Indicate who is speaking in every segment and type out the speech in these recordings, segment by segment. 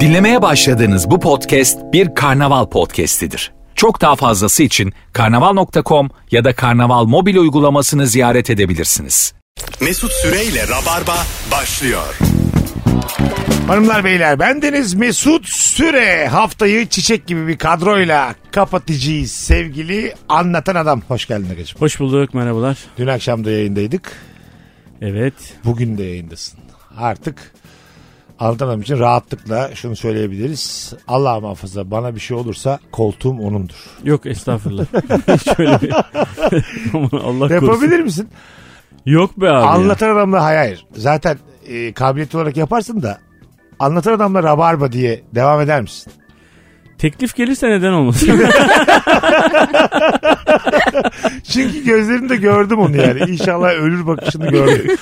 Speaker 1: Dinlemeye başladığınız bu podcast bir karnaval podcastidir. Çok daha fazlası için karnaval.com ya da karnaval mobil uygulamasını ziyaret edebilirsiniz.
Speaker 2: Mesut Süreyle Rabarba başlıyor.
Speaker 3: Hanımlar beyler bendeniz Mesut Süre haftayı çiçek gibi bir kadroyla kapatacağız sevgili anlatan adam. Hoş geldin Agacım.
Speaker 4: Hoş bulduk merhabalar.
Speaker 3: Dün akşam da yayındaydık
Speaker 4: Evet.
Speaker 3: bugün de yayındasın. Artık anlatan adam için rahatlıkla şunu söyleyebiliriz. Allah muhafaza bana bir şey olursa koltuğum onundur.
Speaker 4: Yok estağfurullah. Şöyle bir... Aman Allah korusun.
Speaker 3: Yapabilir misin?
Speaker 4: Yok be abi. ya.
Speaker 3: Anlatan adamla hayır, hayır. Zaten e, kabiliyet olarak yaparsın da anlatan adamla rabarba diye devam eder misin?
Speaker 4: Teklif gelirse neden olmasın?
Speaker 3: Çünkü gözlerinde gördüm onu yani. İnşallah ölür bakışını gördüm.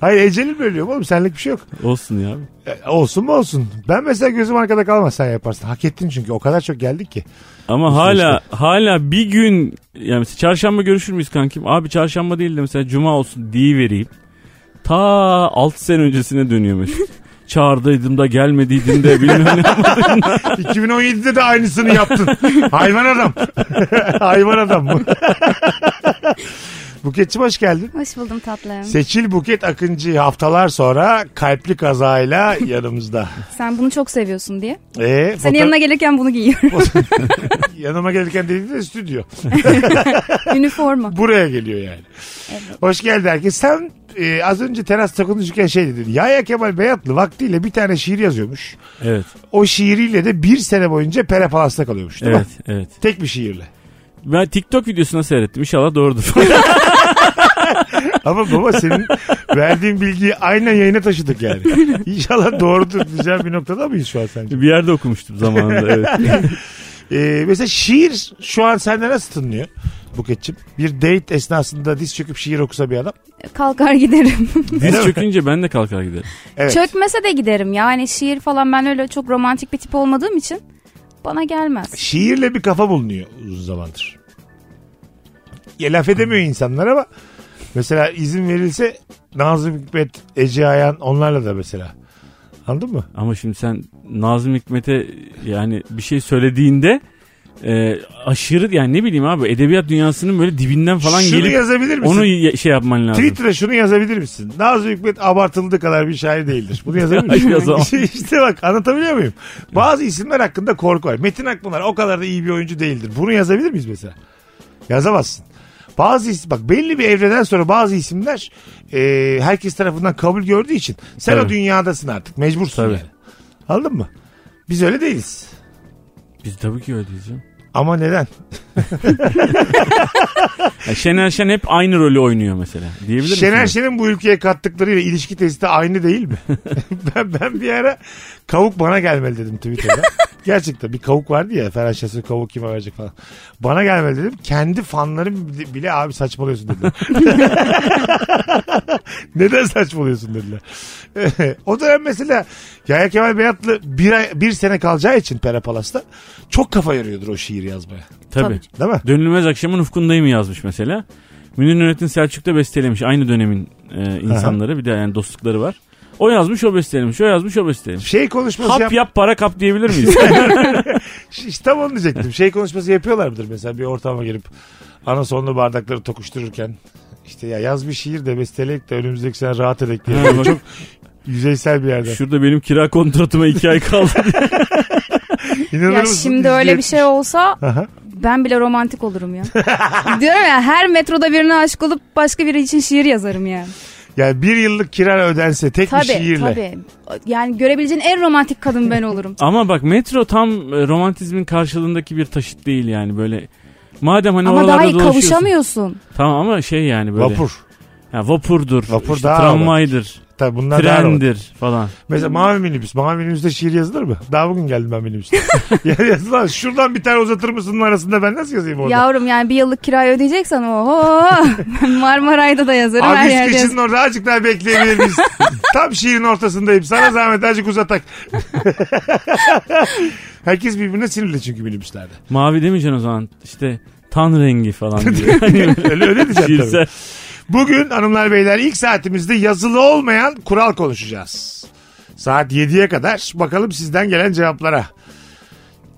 Speaker 3: Hayır ecelim ölüyor oğlum senlik bir şey yok.
Speaker 4: Olsun ya. abi.
Speaker 3: E, olsun mu olsun. Ben mesela gözüm arkada kalmaz sen yaparsın. Hak ettin çünkü o kadar çok geldik ki.
Speaker 4: Ama hala hala bir gün yani mesela çarşamba görüşür müyüz kankim? Abi çarşamba değil de mesela cuma olsun diye vereyim. Ta 6 sene öncesine dönüyor Mesut. Çağırdıydım da gelmediydim de bilmem ne.
Speaker 3: 2017'de de aynısını yaptın. Hayvan adam. Hayvan adam bu. Buketçim hoş geldin.
Speaker 5: Hoş buldum tatlım.
Speaker 3: Seçil Buket Akıncı haftalar sonra kalpli kazayla yanımızda.
Speaker 5: Sen bunu çok seviyorsun diye.
Speaker 3: Ee,
Speaker 5: Senin
Speaker 3: foto-
Speaker 5: yanına gelirken bunu giyiyorum.
Speaker 3: yanıma gelirken dedi de stüdyo.
Speaker 5: Üniforma.
Speaker 3: Buraya geliyor yani. Hoş geldin herkes. Sen e, az önce terasta konuşurken şey dedin. Yahya Kemal Beyatlı vaktiyle bir tane şiir yazıyormuş.
Speaker 4: Evet.
Speaker 3: O şiiriyle de bir sene boyunca Pera Palas'ta kalıyormuş değil
Speaker 4: Evet,
Speaker 3: mi?
Speaker 4: evet.
Speaker 3: Tek bir şiirle.
Speaker 4: Ben TikTok videosuna seyrettim. İnşallah doğrudur.
Speaker 3: Ama baba senin verdiğin bilgiyi aynen yayına taşıdık yani. İnşallah doğrudur diyeceğim bir noktada mıyız şu an sence?
Speaker 4: bir yerde okumuştum zamanında. Evet.
Speaker 3: E, mesela şiir şu an sende nasıl tınlıyor Buketçim? Bir date esnasında diz çöküp şiir okusa bir adam.
Speaker 5: Kalkar giderim.
Speaker 4: Diz çökünce ben de kalkar giderim.
Speaker 3: Evet.
Speaker 5: Çökmese de giderim. Yani şiir falan ben öyle çok romantik bir tip olmadığım için bana gelmez.
Speaker 3: şiirle bir kafa bulunuyor uzun zamandır. Ya laf edemiyor insanlar ama mesela izin verilse Nazım Hikmet, Ece Ayan onlarla da mesela. Anladın mı?
Speaker 4: Ama şimdi sen Nazım Hikmet'e yani bir şey söylediğinde e, aşırı yani ne bileyim abi edebiyat dünyasının böyle dibinden falan
Speaker 3: şunu
Speaker 4: gelip
Speaker 3: yazabilir misin?
Speaker 4: onu ye- şey yapman lazım.
Speaker 3: Twitter'a şunu yazabilir misin? Nazım Hikmet abartıldığı kadar bir şair değildir. Bunu yazabilir
Speaker 4: Hayır, yazamam.
Speaker 3: misin? işte bak anlatabiliyor muyum? Bazı isimler hakkında korku var. Metin Akpınar o kadar da iyi bir oyuncu değildir. Bunu yazabilir miyiz mesela? Yazamazsın. Bazı isim, bak belli bir evreden sonra bazı isimler e, herkes tarafından kabul gördüğü için sen o
Speaker 4: Tabii.
Speaker 3: dünyadasın artık mecbursun.
Speaker 4: Tabii.
Speaker 3: Yani. Anladın mı? Biz öyle değiliz.
Speaker 4: Biz tabii ki öyle diyeceğim.
Speaker 3: Ama neden?
Speaker 4: Ya Şener Şen hep aynı rolü oynuyor mesela. Diyebilir
Speaker 3: Şener
Speaker 4: misin?
Speaker 3: Şen'in bu ülkeye kattıklarıyla ilişki testi aynı değil mi? ben, ben bir ara kavuk bana gelmeli dedim Twitter'da. Gerçekten bir kavuk vardı ya Ferhan Şensoy kavuk kime verecek falan. Bana gelmeli dedim. Kendi fanlarım bile- bile abi saçmalıyorsun dediler. Neden saçmalıyorsun dediler. o dönem mesela Yahya Kemal Beyatlı bir, ay, bir sene kalacağı için Pera Palas'ta çok kafa yarıyordur o şiir yazmaya.
Speaker 4: Tabii.
Speaker 3: Değil mi?
Speaker 4: Dönülmez Akşamın Ufkundayım yazmış mesela. Münir Nurettin Selçuk da bestelemiş. Aynı dönemin e, insanları bir de yani dostlukları var. O yazmış o bestelemiş. O yazmış o bestelemiş.
Speaker 3: Şey konuşması
Speaker 4: Hap
Speaker 3: yap-
Speaker 4: yap para kap diyebilir miyiz?
Speaker 3: İşte tam onu diyecektim. Şey konuşması yapıyorlar mıdır mesela bir ortama girip ana sonlu bardakları tokuştururken. işte ya yaz bir şiir de besteleyek de önümüzdeki sene rahat edek diye.
Speaker 4: Ha, bak.
Speaker 3: Çok yüzeysel bir yerden.
Speaker 4: Şurada benim kira kontratıma iki ay kaldı.
Speaker 3: İnanır
Speaker 5: Ya
Speaker 3: mısın?
Speaker 5: şimdi öyle bir şey olsa
Speaker 3: Aha.
Speaker 5: ben bile romantik olurum ya. Diyorum ya her metroda birine aşık olup başka biri için şiir yazarım yani.
Speaker 3: Yani bir yıllık kira ödense tek bir
Speaker 5: Tabii
Speaker 3: şiirle.
Speaker 5: tabii. Yani görebileceğin en romantik kadın ben olurum.
Speaker 4: Ama bak metro tam e, romantizmin karşılığındaki bir taşıt değil yani böyle. Madem hani
Speaker 5: Ama
Speaker 4: oralarda
Speaker 5: daha iyi
Speaker 4: dolaşıyorsun.
Speaker 5: kavuşamıyorsun.
Speaker 4: Tamam ama şey yani böyle.
Speaker 3: Vapur.
Speaker 4: Ha, vapurdur.
Speaker 3: Vapur
Speaker 4: işte
Speaker 3: daha
Speaker 4: tramvaydır.
Speaker 3: Tabii bunlar daha romantik.
Speaker 4: trendir falan.
Speaker 3: Mesela mavi minibüs. Mavi minibüste şiir yazılır mı? Daha bugün geldim ben minibüste. yani yazılan şuradan bir tane uzatır mısın arasında ben nasıl yazayım orada?
Speaker 5: Yavrum yani bir yıllık kirayı ödeyeceksen oho Marmaray'da da yazarım her
Speaker 3: Abi
Speaker 5: yerde
Speaker 3: kışın
Speaker 5: yazarım.
Speaker 3: orada azıcık daha bekleyebilir miyiz? Tam şiirin ortasındayım. Sana zahmet azıcık uzatak. Herkes birbirine sinirli çünkü minibüslerde.
Speaker 4: Mavi demeyeceksin o zaman işte tan rengi falan diyor. Hani
Speaker 3: Öyle öyle diyeceğim tabii.
Speaker 4: şiirsel.
Speaker 3: Bugün hanımlar beyler ilk saatimizde yazılı olmayan kural konuşacağız. Saat 7'ye kadar bakalım sizden gelen cevaplara.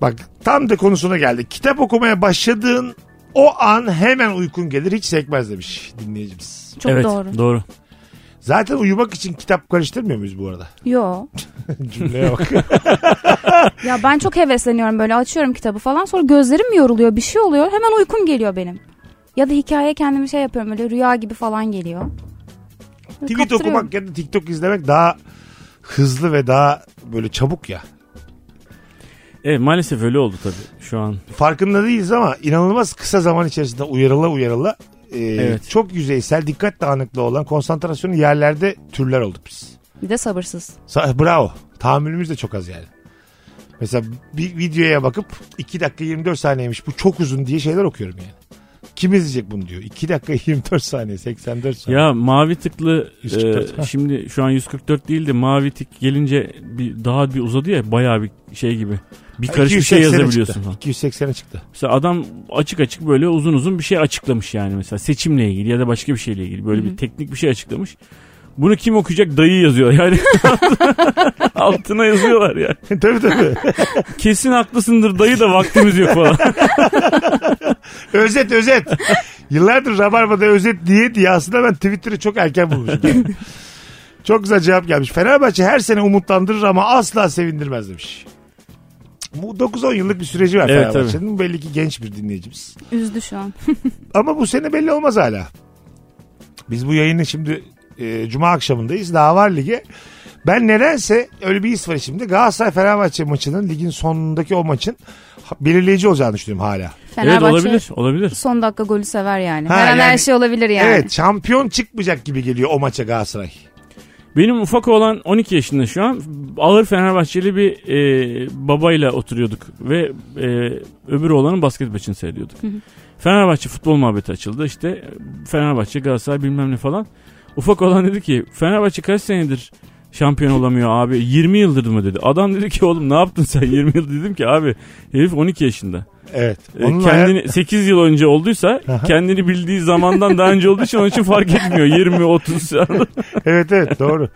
Speaker 3: Bak tam da konusuna geldik. Kitap okumaya başladığın o an hemen uykun gelir hiç sekmez demiş dinleyicimiz.
Speaker 5: Çok
Speaker 4: evet,
Speaker 5: doğru.
Speaker 4: Doğru.
Speaker 3: Zaten uyumak için kitap karıştırmıyor muyuz bu arada?
Speaker 5: Yo.
Speaker 3: Cümleye bak.
Speaker 5: Ya ben çok hevesleniyorum böyle açıyorum kitabı falan sonra gözlerim yoruluyor bir şey oluyor hemen uykum geliyor benim. Ya da hikaye kendimi şey yapıyorum böyle rüya gibi falan geliyor. Böyle
Speaker 3: Tweet
Speaker 5: kaptırıyorum.
Speaker 3: okumak ya da TikTok izlemek daha hızlı ve daha böyle çabuk ya.
Speaker 4: Evet E, maalesef öyle oldu tabii şu an.
Speaker 3: Farkında değiliz ama inanılmaz kısa zaman içerisinde uyarıla uyarıla e,
Speaker 4: Evet.
Speaker 3: çok yüzeysel dikkat dağınıklığı olan konsantrasyonu yerlerde türler olduk biz.
Speaker 5: Bir de sabırsız.
Speaker 3: Sa- Bravo. Tahammülümüz de çok az yani. Mesela bir videoya bakıp 2 dakika 24 saniyeymiş bu çok uzun diye şeyler okuyorum yani. Kim izleyecek bunu diyor. 2 dakika 24 saniye 84 saniye.
Speaker 4: Ya mavi tıklı
Speaker 3: 144,
Speaker 4: e,
Speaker 3: ha.
Speaker 4: şimdi şu an 144 değil de mavi tık gelince bir, daha bir uzadı ya bayağı bir şey gibi. Bir karış bir şey
Speaker 3: 280'e
Speaker 4: yazabiliyorsun
Speaker 3: çıktı.
Speaker 4: falan.
Speaker 3: 280'e çıktı.
Speaker 4: Mesela adam açık açık böyle uzun uzun bir şey açıklamış yani mesela seçimle ilgili ya da başka bir şeyle ilgili böyle bir teknik bir şey açıklamış. Bunu kim okuyacak dayı yazıyor yani. Altına yazıyorlar ya.
Speaker 3: tabii tabii.
Speaker 4: Kesin haklısındır dayı da vaktimiz yok falan.
Speaker 3: özet özet. Yıllardır Rabarba'da özet diye diye aslında ben Twitter'ı çok erken bulmuşum. yani. çok güzel cevap gelmiş. Fenerbahçe her sene umutlandırır ama asla sevindirmez demiş. Bu 9-10 yıllık bir süreci var
Speaker 4: Evet,
Speaker 3: Fenerbahçe'nin. Belli ki genç bir dinleyicimiz.
Speaker 5: Üzdü şu an.
Speaker 3: Ama bu sene belli olmaz hala. Biz bu yayını şimdi e, cuma akşamındayız. Daha var lige. Ben nedense öyle bir his var şimdi. Galatasaray Fenerbahçe maçının ligin sonundaki o maçın ha- belirleyici olacağını düşünüyorum hala.
Speaker 4: evet
Speaker 5: Fenerbahçe
Speaker 4: olabilir olabilir.
Speaker 5: son dakika golü sever yani.
Speaker 3: Ha,
Speaker 5: her an her
Speaker 3: yani-
Speaker 5: şey olabilir yani.
Speaker 3: Evet şampiyon çıkmayacak gibi geliyor o maça Galatasaray.
Speaker 4: Benim ufak olan 12 yaşında şu an ağır Fenerbahçeli bir e, babayla oturuyorduk ve e, öbür oğlanın basket maçını seyrediyorduk. Fenerbahçe futbol muhabbeti açıldı işte Fenerbahçe Galatasaray bilmem ne falan. Ufak olan dedi ki Fenerbahçe kaç senedir şampiyon olamıyor abi 20 yıldır mı dedi. Adam dedi ki oğlum ne yaptın sen 20 yıl dedim ki abi herif 12 yaşında.
Speaker 3: Evet.
Speaker 4: E,
Speaker 3: Onun
Speaker 4: kendini 8 yıl önce olduysa kendini bildiği zamandan daha önce olduğu için onun için fark etmiyor 20 30
Speaker 3: hayal- Evet evet doğru.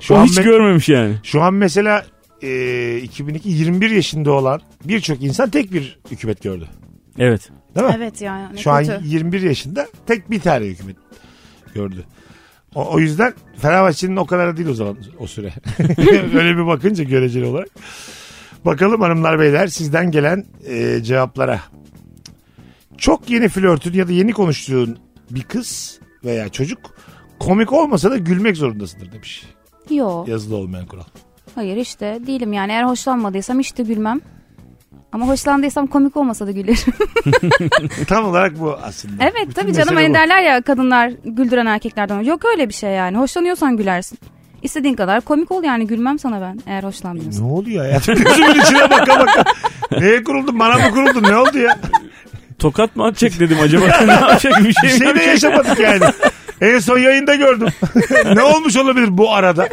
Speaker 3: Şu
Speaker 4: o
Speaker 3: an,
Speaker 4: hiç
Speaker 3: me-
Speaker 4: görmemiş yani.
Speaker 3: şu an mesela e, 2002 21 yaşında olan birçok insan tek bir hükümet gördü.
Speaker 4: Evet.
Speaker 3: Değil mi?
Speaker 5: Evet yani ne
Speaker 3: Şu an
Speaker 5: kötü.
Speaker 3: 21 yaşında tek bir tane hükümet gördü. O, o yüzden Fenerbahçe'nin o kadar da değil o zaman o süre. Öyle bir bakınca göreceli olarak. Bakalım hanımlar beyler sizden gelen e, cevaplara. Çok yeni flörtün ya da yeni konuştuğun bir kız veya çocuk komik olmasa da gülmek zorundasındır demiş.
Speaker 5: Yo
Speaker 3: Yazılı olmayan kural.
Speaker 5: hayır işte değilim yani eğer hoşlanmadıysam hiç de gülmem. Ama hoşlandıysam komik olmasa da gülerim.
Speaker 3: E, Tam olarak bu aslında.
Speaker 5: evet
Speaker 3: Bütün
Speaker 5: tabii canım
Speaker 3: mesele
Speaker 5: hani
Speaker 3: bu.
Speaker 5: derler ya kadınlar güldüren erkeklerden. Yok öyle bir şey yani. Hoşlanıyorsan gülersin. İstediğin kadar komik ol yani gülmem sana ben eğer hoşlanmıyorsan.
Speaker 3: Ne oluyor ya? Gözümün içine baka baka. Neye kuruldun? Bana mı kuruldun? Ne oldu ya?
Speaker 4: Tokat mı atacak dedim acaba ne yapacak bir
Speaker 3: Bir
Speaker 4: şey mi
Speaker 3: şey de
Speaker 4: yapacak?
Speaker 3: yaşamadık yani. En son yayında gördüm. ne olmuş olabilir bu arada?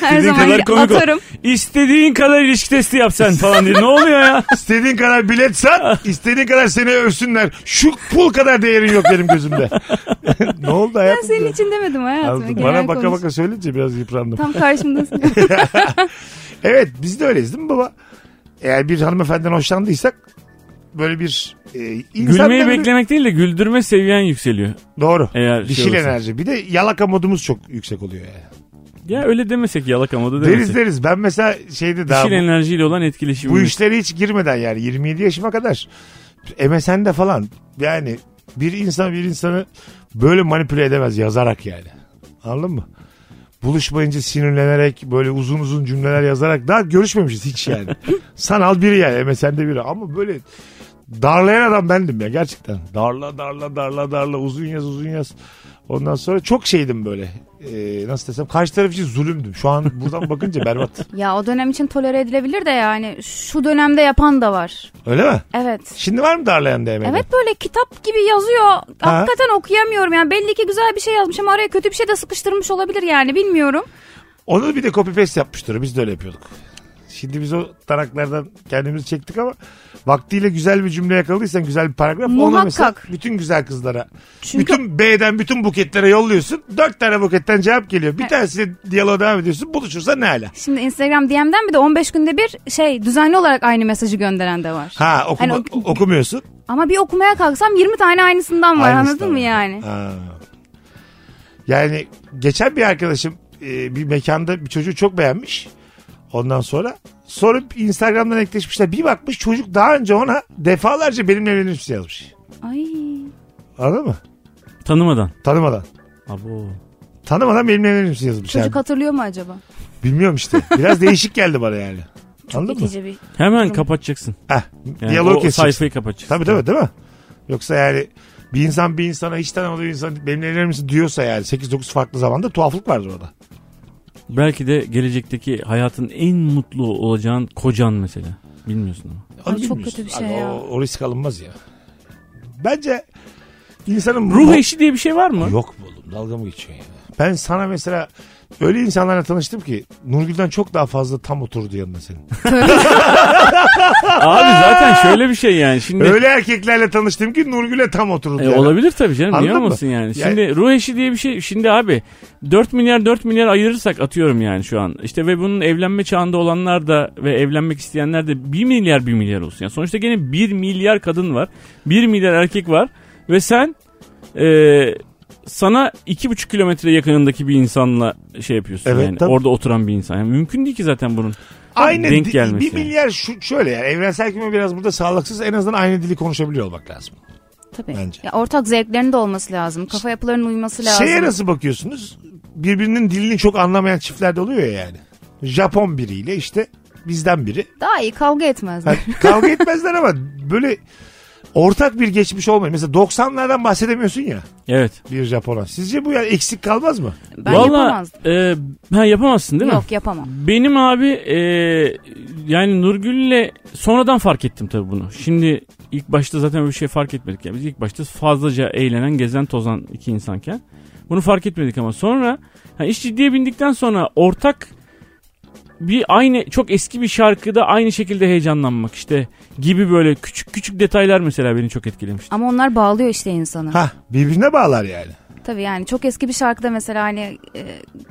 Speaker 5: Her zaman
Speaker 4: kadar komik ol.
Speaker 5: atarım.
Speaker 4: İstediğin kadar ilişki testi yap sen falan diye. Ne oluyor ya?
Speaker 3: İstediğin kadar bilet sat, istediğin kadar seni övsünler. Şu pul kadar değerin yok benim gözümde. ne oldu
Speaker 5: Ben
Speaker 3: hayatım?
Speaker 5: senin için demedim hayatım.
Speaker 3: Anladım.
Speaker 5: Genel
Speaker 3: Bana baka
Speaker 5: konuş-
Speaker 3: baka söyleyince biraz yıprandım.
Speaker 5: Tam karşımdasın.
Speaker 3: Evet biz de öyleyiz değil mi baba? Eğer bir hanımefendiden hoşlandıysak böyle bir e, insan
Speaker 4: Gülmeyi
Speaker 3: da böyle-
Speaker 4: beklemek değil de güldürme seviyen yükseliyor.
Speaker 3: Doğru.
Speaker 4: Eğer şey
Speaker 3: Dişil
Speaker 4: olursa.
Speaker 3: enerji. Bir de yalaka modumuz çok yüksek oluyor yani.
Speaker 4: Ya öyle demesek yalak ama da
Speaker 3: Deriz
Speaker 4: demesek.
Speaker 3: deriz. Ben mesela şeyde daha
Speaker 4: Dişil enerjiyle olan etkileşimi.
Speaker 3: Bu işlere hiç girmeden yani 27 yaşıma kadar MSN'de falan yani bir insan bir insanı böyle manipüle edemez yazarak yani. Anladın mı? Buluşmayınca sinirlenerek böyle uzun uzun cümleler yazarak daha görüşmemişiz hiç yani. Sanal biri yani MSN'de biri ama böyle darlayan adam bendim ya gerçekten. Darla darla darla darla uzun yaz uzun yaz. Ondan sonra çok şeydim böyle. Ee, nasıl desem karşı taraf için zulümdüm. Şu an buradan bakınca berbat.
Speaker 5: ya o dönem için tolere edilebilir de yani şu dönemde yapan da var.
Speaker 3: Öyle mi?
Speaker 5: Evet.
Speaker 3: Şimdi var mı darlayan DM'de?
Speaker 5: Evet böyle kitap gibi yazıyor. Hakikaten okuyamıyorum yani. Belli ki güzel bir şey yazmış ama araya kötü bir şey de sıkıştırmış olabilir yani bilmiyorum.
Speaker 3: Onu bir de copy paste yapmıştır. Biz de öyle yapıyorduk. Şimdi biz o taraklardan kendimizi çektik ama vaktiyle güzel bir cümle yakaladıysan güzel bir paragraf. onu
Speaker 5: Muhakkak.
Speaker 3: mesela Bütün güzel kızlara.
Speaker 5: Çünkü
Speaker 3: Bütün B'den bütün buketlere yolluyorsun. Dört tane buketten cevap geliyor. Bir tanesine diyaloğa devam ediyorsun. Buluşursa ne ala.
Speaker 5: Şimdi Instagram DM'den bir de 15 günde bir şey düzenli olarak aynı mesajı gönderen de var.
Speaker 3: Ha okuma,
Speaker 5: Hani o-
Speaker 3: okumuyorsun.
Speaker 5: Ama bir okumaya kalksam 20 tane aynısından var
Speaker 3: Aynısı da
Speaker 5: anladın mı
Speaker 3: var.
Speaker 5: yani?
Speaker 3: Ha. Yani geçen bir arkadaşım e, bir mekanda bir çocuğu çok beğenmiş. Ondan sonra sorup Instagram'dan ekleşmişler. Bir bakmış çocuk daha önce ona defalarca benimle evlenir misin yazmış.
Speaker 5: Ay.
Speaker 3: Anladın mı?
Speaker 4: Tanımadan.
Speaker 3: Tanımadan.
Speaker 4: Abo.
Speaker 3: Tanımadan benimle evlenir misin yazmış.
Speaker 5: Çocuk
Speaker 3: yani.
Speaker 5: hatırlıyor mu acaba?
Speaker 3: Bilmiyorum işte. Biraz değişik geldi bana yani. Anladın mı?
Speaker 5: İkinci bir.
Speaker 4: Hemen kapatacaksın.
Speaker 3: Heh,
Speaker 4: Yani
Speaker 3: diyaloğu
Speaker 4: o
Speaker 3: keseceksin.
Speaker 4: sayfayı kapatacaksın.
Speaker 3: Tabii tabii değil mi? Yoksa yani bir insan bir insana hiç tanımadığı insan benimle evlenir misin diyorsa yani 8-9 farklı zamanda tuhaflık vardır orada.
Speaker 4: Belki de gelecekteki hayatın en mutlu olacağın kocan mesela. Bilmiyorsun ama.
Speaker 5: Ay,
Speaker 3: Onu
Speaker 5: çok
Speaker 3: bilmiyorsun.
Speaker 5: kötü bir şey
Speaker 3: Abi
Speaker 5: ya.
Speaker 3: O, o risk alınmaz ya. Bence insanın
Speaker 4: Ruh
Speaker 3: mo-
Speaker 4: eşi diye bir şey var mı?
Speaker 3: Yok mu oğlum dalga mı geçiyor yani? Ben sana mesela öyle insanlarla tanıştım ki Nurgül'den çok daha fazla tam oturdu yanına senin.
Speaker 4: Abi zaten şöyle bir şey yani. Şimdi
Speaker 3: öyle erkeklerle tanıştım ki Nurgül'e tam oturdu.
Speaker 4: E,
Speaker 3: yani.
Speaker 4: olabilir tabii canım.
Speaker 3: Anladın
Speaker 4: Niye
Speaker 3: mı?
Speaker 4: olmasın yani?
Speaker 3: Yani-
Speaker 4: Şimdi ruh eşi diye bir şey. Şimdi abi 4 milyar 4 milyar ayırırsak atıyorum yani şu an. İşte ve bunun evlenme çağında olanlar da ve evlenmek isteyenler de 1 milyar 1 milyar olsun. Yani sonuçta gene 1 milyar kadın var. 1 milyar erkek var. Ve sen e, sana 2,5 kilometre yakınındaki bir insanla şey yapıyorsun
Speaker 3: Evet,
Speaker 4: yani.
Speaker 3: tabii.
Speaker 4: Orada oturan bir insan. Yani mümkün değil ki zaten bunun.
Speaker 3: Aynı
Speaker 4: Denk
Speaker 3: di-
Speaker 4: gelmesi
Speaker 3: bir
Speaker 4: yani.
Speaker 3: milyar şu, şöyle yani evrensel küme biraz burada sağlıksız en azından aynı dili konuşabiliyor olmak lazım.
Speaker 5: Tabii.
Speaker 3: Bence. Şey
Speaker 5: Ya ortak zevklerin de olması lazım. Kafa yapılarının uyması lazım.
Speaker 3: Şeye nasıl bakıyorsunuz? Birbirinin dilini çok anlamayan çiftler de oluyor ya yani. Japon biriyle işte bizden biri.
Speaker 5: Daha iyi kavga
Speaker 3: Ha,
Speaker 5: etmezler.
Speaker 3: kavga etmezler ama böyle ortak bir geçmiş olmayı. Mesela 90'lardan bahsedemiyorsun ya
Speaker 4: Evet.
Speaker 3: bir Japon'a. Sizce bu yani eksik kalmaz mı?
Speaker 5: Ben
Speaker 4: Vallahi,
Speaker 5: yapamazdım.
Speaker 4: e, ha, yapamazsın değil mi?
Speaker 5: Yok yapamam.
Speaker 4: Benim abi e, yani Nurgül'le sonradan fark ettim tabii bunu. Şimdi ilk başta zaten bir şey fark etmedik. Yani biz ilk başta fazlaca eğlenen, gezen, tozan iki insanken bunu fark etmedik ama sonra ha, iş ciddiye bindikten sonra ortak bir aynı çok eski bir şarkıda aynı şekilde heyecanlanmak işte gibi böyle küçük küçük detaylar mesela beni çok etkilemişti.
Speaker 5: Ama onlar bağlıyor işte insanı.
Speaker 3: Ha birbirine bağlar yani.
Speaker 5: Tabii yani çok eski bir şarkıda mesela hani e,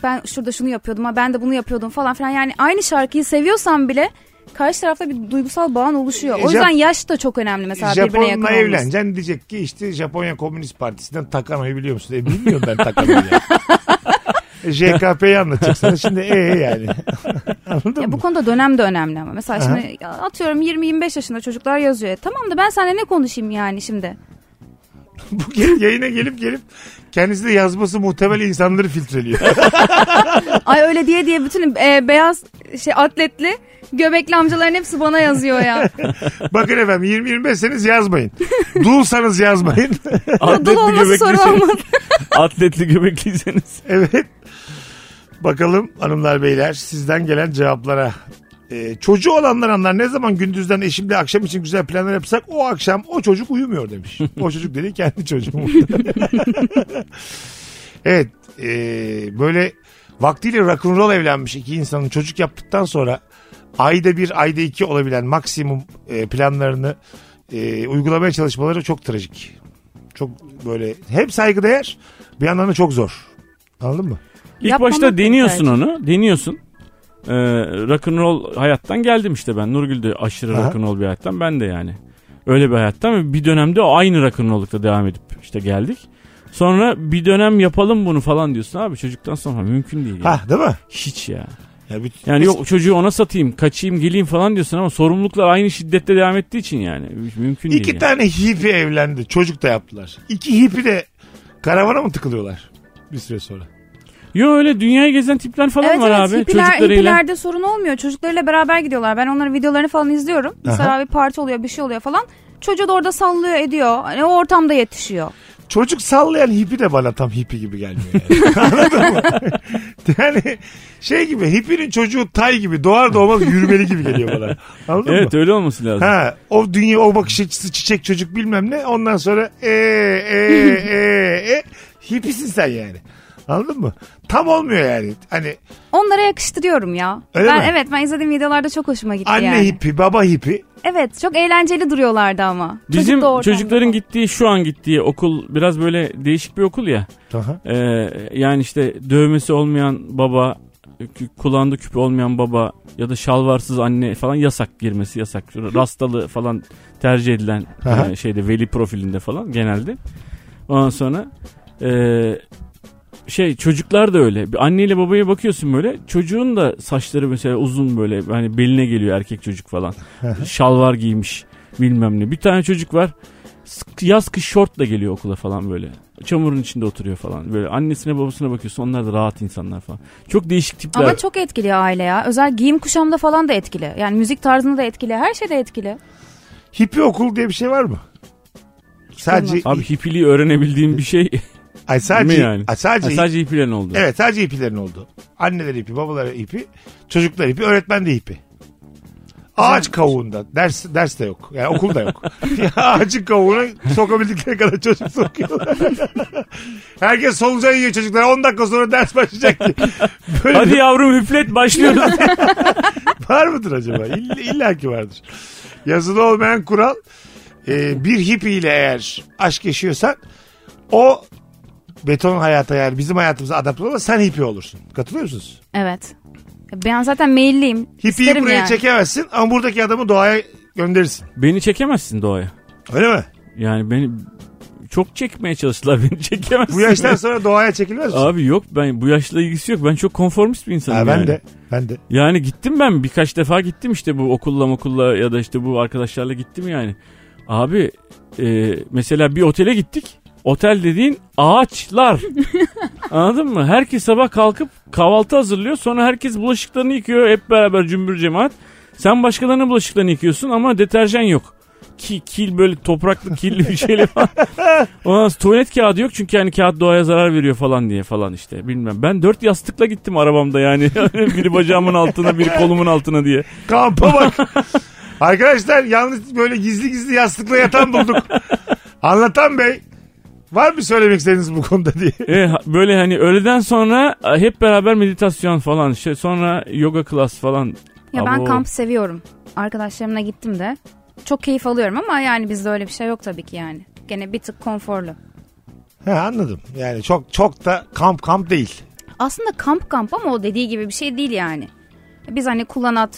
Speaker 5: ben şurada şunu yapıyordum ha ben de bunu yapıyordum falan filan. Yani aynı şarkıyı seviyorsan bile karşı tarafta bir duygusal bağın oluşuyor.
Speaker 3: E,
Speaker 5: O yüzden
Speaker 3: Jap-
Speaker 5: yaş da çok önemli mesela birbirine yakın
Speaker 3: Japon'la
Speaker 5: olması.
Speaker 3: evleneceksin diyecek ki işte Japonya Komünist Partisi'nden Takano'yu biliyor musun? E bilmiyorum ben Takano'yu. E, yani. JKP'yi anlatacak sana şimdi e yani. Anladın
Speaker 5: Ya
Speaker 3: mı?
Speaker 5: bu konuda dönem de önemli ama. Mesela şimdi ya atıyorum 20-25 yaşında çocuklar yazıyor. E, tamam da ben seninle ne konuşayım yani şimdi?
Speaker 3: Bu gel- yayına gelip gelip kendisi de yazması muhtemel insanları filtreliyor.
Speaker 5: Ay öyle diye diye bütün e, beyaz şey atletli göbekli amcaların hepsi bana yazıyor ya.
Speaker 3: Bakın efendim 20-25 seniz yazmayın. Dulsanız yazmayın.
Speaker 5: Dul olması
Speaker 3: şey.
Speaker 5: sorun olmaz.
Speaker 4: atletli göbekliyseniz.
Speaker 3: Evet. Bakalım hanımlar beyler sizden gelen cevaplara. Ee, çocuğu olanlar anlar ne zaman gündüzden eşimle akşam için güzel planlar yapsak o akşam o çocuk uyumuyor demiş. o çocuk dedi kendi çocuğum. evet e, böyle vaktiyle rock'n'roll evlenmiş iki insanın çocuk yaptıktan sonra ayda bir ayda iki olabilen maksimum e, planlarını e, uygulamaya çalışmaları çok trajik. Çok böyle hem saygıdeğer bir yandan da çok zor. Anladın mı?
Speaker 4: İlk
Speaker 5: Yapmamak
Speaker 4: başta deniyorsun
Speaker 5: yeter.
Speaker 4: onu. Deniyorsun. Ee, rock'n'roll hayattan geldim işte ben. Nurgül de aşırı
Speaker 3: Aha.
Speaker 4: rock'n'roll bir hayattan. Ben de yani. Öyle bir hayattan ve bir dönemde o aynı rock'n'roll'lukta devam edip işte geldik. Sonra bir dönem yapalım bunu falan diyorsun abi. Çocuktan sonra mümkün değil. yani.
Speaker 3: Ha değil mi?
Speaker 4: Hiç ya.
Speaker 3: Ya bir-
Speaker 4: Yani yok çocuğu ona satayım, kaçayım, geleyim falan diyorsun ama sorumluluklar aynı şiddette devam ettiği için yani. Mümkün değil.
Speaker 3: İki
Speaker 4: yani.
Speaker 3: tane hippie evlendi. Çocuk da yaptılar. İki hippie de karavana mı tıkılıyorlar bir süre sonra?
Speaker 4: Yo öyle dünyayı gezen tipler falan
Speaker 5: Evet
Speaker 4: var
Speaker 5: evet
Speaker 4: abi.
Speaker 5: hippiler,
Speaker 4: Çocuklarıyla.
Speaker 5: hippilerde sorun olmuyor. Çocuklarıyla beraber gidiyorlar. Ben onların videolarını falan izliyorum. Mesela bir parti oluyor bir şey oluyor falan. Çocuğu da orada sallıyor ediyor. Hani o ortamda yetişiyor.
Speaker 3: Çocuk sallayan hippie de bana tam hippie gibi gelmiyor. Yani. Anladın mı? Yani şey gibi hippie'nin çocuğu tay gibi doğar doğmaz yürümeli gibi geliyor bana. Anladın
Speaker 4: Evet
Speaker 3: mı?
Speaker 4: öyle olması lazım.
Speaker 3: Ha, o dünya o bakış açısı çiçek çocuk bilmem ne ondan sonra e e e e hippisin e, sen yani. Anladın mı? Tam olmuyor yani. Hani
Speaker 5: Onlara yakıştırıyorum ya.
Speaker 3: Öyle
Speaker 5: ben
Speaker 3: mi?
Speaker 5: evet ben izlediğim videolarda çok hoşuma gitti
Speaker 3: anne
Speaker 5: yani.
Speaker 3: hippi, baba hippi.
Speaker 5: Evet çok eğlenceli duruyorlardı ama. Çocuk
Speaker 4: Bizim
Speaker 5: da ortamda.
Speaker 4: çocukların gittiği şu an gittiği okul biraz böyle değişik bir okul ya.
Speaker 3: Aha.
Speaker 4: Ee, yani işte dövmesi olmayan baba, kü- kulağında küpü olmayan baba ya da şalvarsız anne falan yasak girmesi yasak. Şöyle Rastalı falan tercih edilen
Speaker 3: Aha.
Speaker 4: e, şeyde veli profilinde falan genelde. Ondan sonra e, şey çocuklar da öyle. Bir anneyle babaya bakıyorsun böyle. Çocuğun da saçları mesela uzun böyle hani beline geliyor erkek çocuk falan. Şalvar giymiş bilmem ne. Bir tane çocuk var. sık- Yaz kış şortla geliyor okula falan böyle. Çamurun içinde oturuyor falan. Böyle annesine babasına bakıyorsun. Onlar da rahat insanlar falan. Çok değişik tipler.
Speaker 5: Ama çok etkili aile ya. Özel giyim kuşamda falan da etkili. Yani müzik tarzında da etkili. Her şeyde etkili.
Speaker 3: Hippi okul diye bir şey var mı? Sadece
Speaker 4: Abi hipiliği öğrenebildiğim bir şey
Speaker 3: ay sadece
Speaker 4: mi yani?
Speaker 3: ay sadece,
Speaker 4: Ha, sadece hipilen oldu.
Speaker 3: evet sadece hippilerin oldu. Anneler hippi, babalar hippi, çocuklar hippi, öğretmen de hippi. Ağaç kavuğunda. Ders, ders de yok. Yani okul da yok. Ağacın kavuğuna sokabildikleri kadar çocuk sokuyorlar. Herkes solucan yiyor çocuklar. 10 dakika sonra ders başlayacak diye. Böyle
Speaker 4: Hadi yavrum üflet başlıyoruz.
Speaker 3: Var mıdır acaba? İlla, illa ki vardır. Yazılı olmayan kural e, bir hippiyle eğer aşk yaşıyorsan o beton hayata yani bizim hayatımıza adapte olma sen hippie olursun. Katılıyor musunuz?
Speaker 5: Evet. Ben zaten meyilliyim.
Speaker 3: Hippie'yi
Speaker 5: İsterim
Speaker 3: buraya
Speaker 5: yani.
Speaker 3: çekemezsin ama buradaki adamı doğaya gönderirsin.
Speaker 4: Beni çekemezsin doğaya.
Speaker 3: Öyle mi?
Speaker 4: Yani beni çok çekmeye çalıştılar beni çekemezsin.
Speaker 3: Bu yaştan sonra doğaya çekilmez misin?
Speaker 4: Abi yok ben bu yaşla ilgisi yok. Ben çok konformist bir insanım
Speaker 3: Ha, ben
Speaker 4: yani.
Speaker 3: de. Ben de.
Speaker 4: Yani gittim ben birkaç defa gittim işte bu okulla okulla ya da işte bu arkadaşlarla gittim yani. Abi e, mesela bir otele gittik. Otel dediğin ağaçlar. Anladın mı? Herkes sabah kalkıp kahvaltı hazırlıyor. Sonra herkes bulaşıklarını yıkıyor. Hep beraber cümbür cemaat. Sen başkalarının bulaşıklarını yıkıyorsun ama deterjan yok. Ki, kil böyle topraklı kirli bir şeyle falan. Ondan sonra tuvalet kağıdı yok çünkü yani kağıt doğaya zarar veriyor falan diye falan işte bilmem. Ben dört yastıkla gittim arabamda yani. biri bacağımın altına biri kolumun altına diye.
Speaker 3: Kampa bak. Arkadaşlar yalnız böyle gizli gizli yastıkla yatan bulduk. Anlatan bey. Var mı söylemek istediğiniz bu konuda diye.
Speaker 4: E, ha- böyle hani öğleden sonra e, hep beraber meditasyon falan işte sonra yoga klas falan.
Speaker 5: Ya ben
Speaker 4: Abo.
Speaker 5: kamp seviyorum. Arkadaşlarımla gittim de. Çok keyif alıyorum ama yani bizde öyle bir şey yok tabii ki yani. Gene bir tık konforlu.
Speaker 3: He, anladım. Yani çok çok da kamp kamp değil.
Speaker 5: Aslında kamp kamp ama o dediği gibi bir şey değil yani. Biz hani kullanat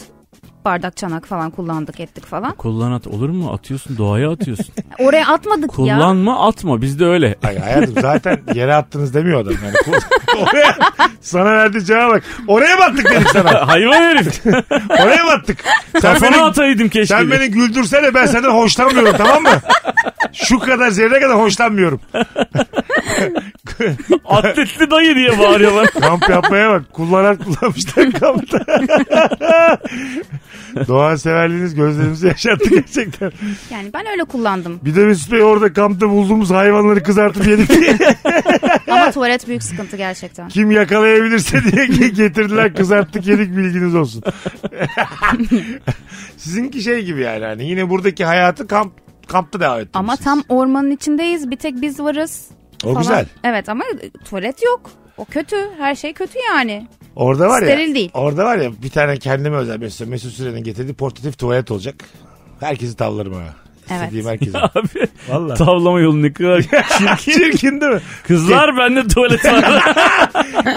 Speaker 5: bardak çanak falan kullandık ettik falan.
Speaker 4: Kullanat olur mu? Atıyorsun doğaya atıyorsun.
Speaker 5: Oraya atmadık ya.
Speaker 4: Kullanma atma bizde öyle.
Speaker 3: Ay hayatım zaten yere attınız demiyor adam yani. Ko- Oraya, sana verdiği cevaba bak. Oraya mı attık dedim sana?
Speaker 4: Hayvan herif.
Speaker 3: Oraya mı attık? Sen beni,
Speaker 4: Kafana ataydım keşke.
Speaker 3: sen beni güldürsene ben senden hoşlanmıyorum tamam mı? Şu kadar zerre kadar hoşlanmıyorum.
Speaker 4: Atletli dayı diye bağırıyorlar.
Speaker 3: Kamp yapmaya bak. Kullanan kullanmışlar kampta. Doğa severliğiniz gözlerimizi yaşarttı gerçekten.
Speaker 5: Yani ben öyle kullandım.
Speaker 3: Bir de Mesut Bey orada kampta bulduğumuz hayvanları kızartıp yedik diye.
Speaker 5: Ama tuvalet büyük sıkıntı gerçekten.
Speaker 3: Kim yakalayabilirse diye getirdiler kızarttık yedik bilginiz olsun. Sizinki şey gibi yani hani yine buradaki hayatı kamp kampta devam ettiniz.
Speaker 5: Ama
Speaker 3: siz.
Speaker 5: tam ormanın içindeyiz. Bir tek biz varız.
Speaker 3: o
Speaker 5: falan.
Speaker 3: güzel.
Speaker 5: Evet ama tuvalet yok. O kötü. Her şey kötü yani.
Speaker 3: Orada var ya.
Speaker 5: Steril değil.
Speaker 3: Orada var ya bir tane kendime özel Mesut, Mesut Süren'in getirdiği portatif tuvalet olacak. Herkesi tavlarım ha. İstediğim herkesi.
Speaker 4: Abi
Speaker 3: Valla.
Speaker 4: tavlama yolu ne kadar
Speaker 3: Çirkin değil mi?
Speaker 4: Kızlar bende tuvalet var.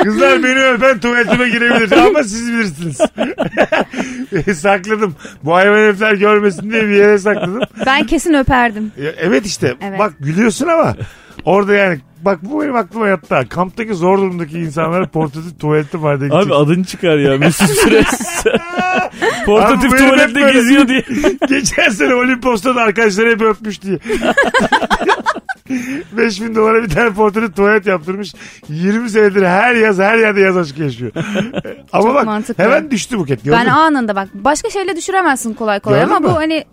Speaker 3: Kızlar beni öpen tuvaletime girebilir ama siz bilirsiniz. sakladım. Bu hayvan herifler görmesin diye bir yere sakladım.
Speaker 5: Ben kesin öperdim.
Speaker 3: Ya, Evet işte.
Speaker 5: Evet.
Speaker 3: Bak gülüyorsun ama orada yani bak bu benim aklıma yattı. ha. Kamptaki zor durumdaki insanlara portatif tuvaletim var diye
Speaker 4: Abi adın çıkar ya Mesut Süres. Portatif
Speaker 3: Abi benim hep
Speaker 4: tuvalette
Speaker 3: böyle-
Speaker 4: geziyor diye.
Speaker 3: gidecek. Geçen sene Olimpos'ta da arkadaşları hep öpmüş diye. 5000 dolara bir tane portatif tuvalet yaptırmış. 20 senedir her yaz her yerde yaz aşkı yaşıyor. ama bak
Speaker 5: mantıklı.
Speaker 3: hemen düştü buket. Gördün
Speaker 5: Ben
Speaker 3: mü?
Speaker 5: anında bak. Başka şeyle düşüremezsin kolay kolay
Speaker 3: Gördün
Speaker 5: ama
Speaker 3: mü?
Speaker 5: bu hani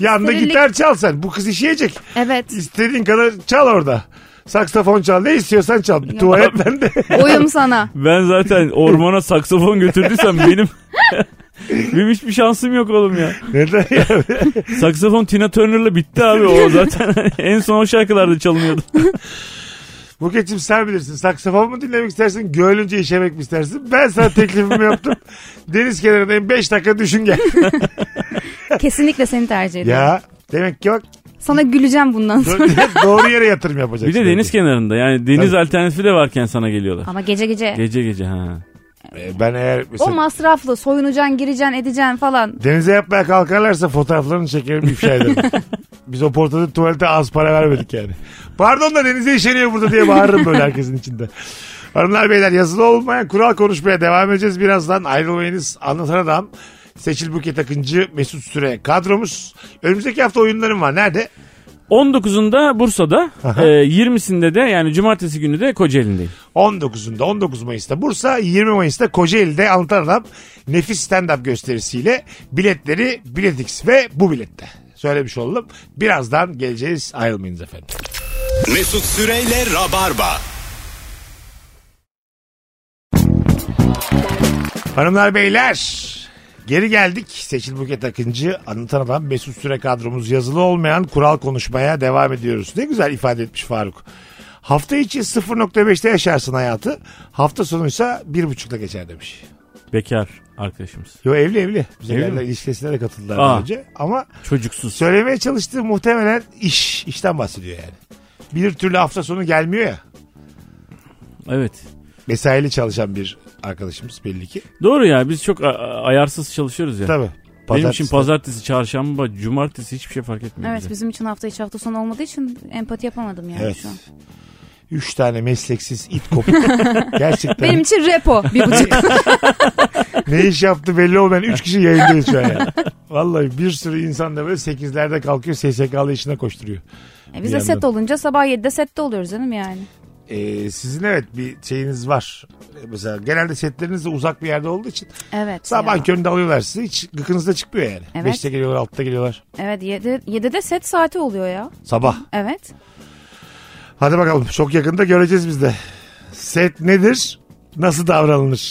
Speaker 3: Yanında
Speaker 5: Sinirlik-
Speaker 3: gitar çal sen. Bu kız işeyecek.
Speaker 5: evet
Speaker 3: İstediğin kadar çal orada. Saksafon çal. Ne istiyorsan çal. Tuvaletten de.
Speaker 5: oyum sana.
Speaker 4: Ben zaten ormana saksafon götürdüysem benim benim hiçbir şansım yok oğlum ya.
Speaker 3: Neden ya?
Speaker 4: Saksafon Tina Turner'la bitti abi o zaten. en son o şarkılarda çalınıyordu.
Speaker 3: Buket'cim sen bilirsin. Saksafon mu dinlemek istersin? Gölünce işemek mi istersin? Ben sana teklifimi yaptım. Deniz kenarındayım. 5 dakika düşün gel.
Speaker 5: Kesinlikle seni tercih ediyorum.
Speaker 3: ya demek ki bak
Speaker 5: Sana güleceğim bundan sonra.
Speaker 3: do- doğru yere yatırım yapacaksın.
Speaker 4: Bir de deniz kenarında yani deniz alternatifi de varken sana geliyorlar.
Speaker 5: Ama gece gece.
Speaker 4: Gece gece ha.
Speaker 3: Ee, Ben eğer
Speaker 5: o
Speaker 3: mesela
Speaker 5: masraflı soyunacaksın gireceksin edeceksin falan.
Speaker 3: denize yapmaya kalkarlarsa fotoğraflarını çekerim ifşa ederim. Biz o portada tuvalete az para vermedik yani. Pardon da denize işeniyor burada diye bağırırım böyle herkesin içinde. Hanımlar beyler yazılı olmayan kural konuşmaya devam edeceğiz. Birazdan ayrılmayınız. Anlatan Adam, Seçil Buket Akıncı, Mesut Süre kadromuz. Önümüzdeki hafta oyunlarım var. Nerede?
Speaker 4: 19'unda Bursa'da, e, 20'sinde de yani cumartesi günü de Kocaeli'ndeyim.
Speaker 3: 19'unda 19 Mayıs'ta Bursa 20 Mayıs'ta Kocaeli'de Anlatan Adam nefis stand-up gösterisiyle biletleri Biletix ve bu bilette. Söylemiş oldum. Birazdan geleceğiz ayrılmayınız efendim.
Speaker 2: Mesut Süreyle Rabarba.
Speaker 3: Hanımlar beyler geri geldik. Seçil Buket Akıncı Anlatan Adam Mesut Süre kadromuz yazılı olmayan kural konuşmaya devam ediyoruz. Ne güzel ifade etmiş Faruk. Hafta içi 0.5'te yaşarsın hayatı. Hafta sonuysa 1.5'la geçer demiş.
Speaker 4: Bekar arkadaşımız.
Speaker 3: Yo evli evli. Bize
Speaker 4: Evli
Speaker 3: geldiler,
Speaker 4: mi?
Speaker 3: ilişkisine de katıldılar
Speaker 4: Aa.
Speaker 3: daha önce. Ama
Speaker 4: Çocuksuz.
Speaker 3: söylemeye çalıştığı muhtemelen iş. işten bahsediyor yani. Bir türlü hafta sonu gelmiyor ya.
Speaker 4: Evet.
Speaker 3: Mesaili çalışan bir arkadaşımız belli ki.
Speaker 4: Doğru ya biz çok a- a- ayarsız çalışıyoruz ya.
Speaker 3: Tabii.
Speaker 4: Benim için
Speaker 3: Pazartesi-
Speaker 4: pazartesi, çarşamba, cumartesi hiçbir şey fark etmiyor
Speaker 5: Evet
Speaker 4: bize.
Speaker 5: bizim için hafta içi hafta sonu olmadığı için empati yapamadım yani
Speaker 3: Evet.
Speaker 5: şu an.
Speaker 3: Üç tane mesleksiz it kopuk. Gerçekten.
Speaker 5: Benim için repo bir buçuk.
Speaker 3: ne iş yaptı belli olmayan üç kişi yayındayız şu an ya. Vallahi bir sürü insan da böyle sekizlerde kalkıyor SSK'lı işine koşturuyor.
Speaker 5: E,
Speaker 3: Bir
Speaker 5: Biz de set
Speaker 3: yandan.
Speaker 5: olunca sabah 7'de sette oluyoruz canım yani.
Speaker 3: Ee, sizin evet bir şeyiniz var. Ee, Mesela genelde setleriniz de uzak bir yerde olduğu için
Speaker 5: Evet.
Speaker 3: sabah
Speaker 5: ya.
Speaker 3: köründe alıyorlar sizi. Hiç gıkınızda çıkmıyor yani.
Speaker 5: Evet.
Speaker 3: Beşte geliyorlar altta geliyorlar.
Speaker 5: Evet 7, 7'de set saati oluyor ya.
Speaker 3: Sabah.
Speaker 5: Evet.
Speaker 3: Hadi bakalım çok yakında göreceğiz biz de. Set nedir? Nasıl davranılır?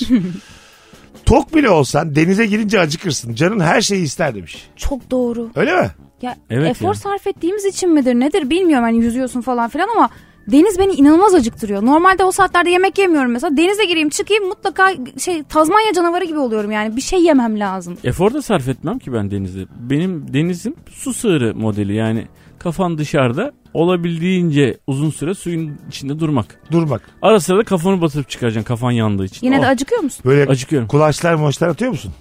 Speaker 3: Tok bile olsan denize girince acıkırsın. Canın her şeyi ister demiş.
Speaker 5: Çok doğru.
Speaker 3: Öyle mi?
Speaker 5: Ya
Speaker 4: Evet
Speaker 5: efor
Speaker 4: ya.
Speaker 5: sarf ettiğimiz için midir nedir bilmiyorum hani yüzüyorsun falan filan ama deniz beni inanılmaz acıktırıyor. Normalde o saatlerde yemek yemiyorum mesela. Denize gireyim çıkayım mutlaka şey Tazmanya canavarı gibi oluyorum yani. Bir şey yemem lazım.
Speaker 4: Efor da sarf etmem ki ben denizde. Benim denizim su sığırı modeli yani kafan dışarıda olabildiğince uzun süre suyun içinde durmak.
Speaker 3: Durmak.
Speaker 4: Ara sıra da kafanı batırıp çıkaracaksın kafan yandığı için.
Speaker 5: Yine de
Speaker 4: Oh,
Speaker 5: acıkıyor musun?
Speaker 3: Böyle
Speaker 4: acıkıyorum.
Speaker 3: kulaçlar moçlar atıyor musun?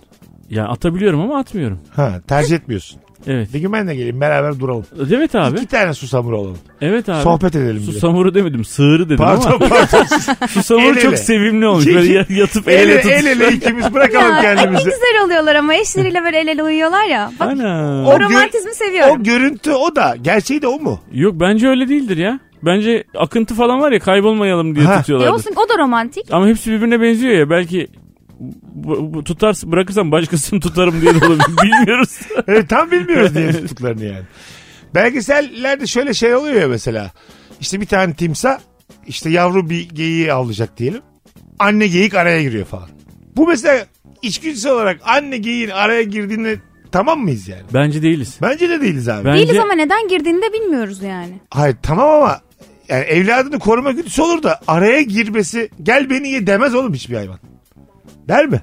Speaker 4: Yani atabiliyorum ama atmıyorum.
Speaker 3: Ha, tercih etmiyorsun.
Speaker 4: Evet.
Speaker 3: Bir gün ben de geleyim beraber duralım.
Speaker 4: Evet abi.
Speaker 3: İki tane susamur olalım.
Speaker 4: Evet abi.
Speaker 3: Sohbet edelim bile.
Speaker 4: Susamuru demedim. Sığırı dedim ama
Speaker 3: Pardon pardon. El ele.
Speaker 4: susamuru çok sevimli olmuş. Böyle ya- yatıp
Speaker 3: el,
Speaker 4: el
Speaker 3: ele,
Speaker 4: yatıp.
Speaker 3: el ele ikimiz bırakalım
Speaker 5: Ya, ay ne
Speaker 3: kendimizi.
Speaker 5: güzel oluyorlar ama eşleriyle böyle el ele uyuyorlar ya. Bak
Speaker 4: Ana.
Speaker 5: o,
Speaker 3: gö-
Speaker 5: romantizmi
Speaker 3: O
Speaker 5: seviyorum.
Speaker 3: görüntü o da. Gerçeği de o mu?
Speaker 4: Yok bence öyle değildir ya. Bence akıntı falan var ya kaybolmayalım diye
Speaker 3: Ha.
Speaker 5: E
Speaker 4: tutuyorlardı.
Speaker 5: olsun o da romantik.
Speaker 4: Ama hepsi birbirine benziyor ya. Belki bu, bu tutars bırakırsam başkasını tutarım diye de olabilir. Bilmiyoruz.
Speaker 3: Evet, tam bilmiyoruz diye tuttuklarını yani. Belgesellerde şöyle şey oluyor ya mesela. İşte bir tane timsah işte yavru bir geyiği avlayacak diyelim. Anne geyik araya giriyor falan. Bu mesela içgüdüsel olarak anne geyiğin araya girdiğinde tamam mıyız yani?
Speaker 4: Bence değiliz.
Speaker 3: Bence de değiliz abi.
Speaker 4: Bence
Speaker 5: Değiliz ama neden girdiğini de bilmiyoruz yani.
Speaker 3: Hayır tamam ama yani evladını koruma güdüsü olur da araya girmesi gel beni ye demez oğlum hiçbir hayvan. Der mi?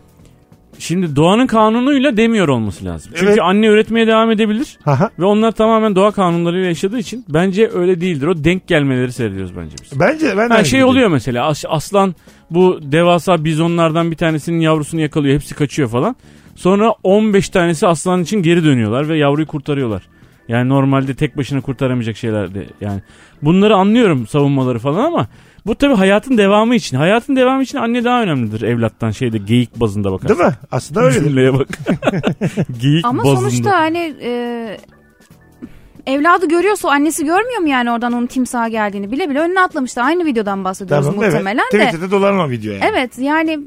Speaker 4: şimdi doğanın kanunuyla demiyor olması lazım. Çünkü
Speaker 3: Evet.
Speaker 4: anne üretmeye devam edebilir.
Speaker 3: Aha.
Speaker 4: Ve onlar tamamen doğa kanunlarıyla yaşadığı için bence öyle değildir. O denk gelmeleri seyrediyoruz bence biz.
Speaker 3: Bence ben de
Speaker 4: Ha,
Speaker 3: aynı
Speaker 4: şey
Speaker 3: gibi.
Speaker 4: oluyor mesela as- aslan bu devasa bizonlardan bir tanesinin yavrusunu yakalıyor hepsi kaçıyor falan. Sonra 15 tanesi aslan için geri dönüyorlar ve yavruyu kurtarıyorlar. Yani normalde tek başına kurtaramayacak şeylerdi yani. Bunları anlıyorum savunmaları falan ama bu tabii hayatın devamı için. Hayatın devamı için anne daha önemlidir evlattan şeyde geyik bazında bakar.
Speaker 3: Değil mi? Aslında öyle.
Speaker 4: Cümleye bak. geyik
Speaker 5: Ama
Speaker 4: bazında.
Speaker 5: sonuçta hani e, evladı görüyorsa o annesi görmüyor mu yani oradan onun timsaha geldiğini bile bile önüne atlamıştı. Aynı videodan bahsediyoruz
Speaker 3: Tamam evet.
Speaker 5: muhtemelen de.
Speaker 3: Twitter'da dolan o video yani.
Speaker 5: Evet yani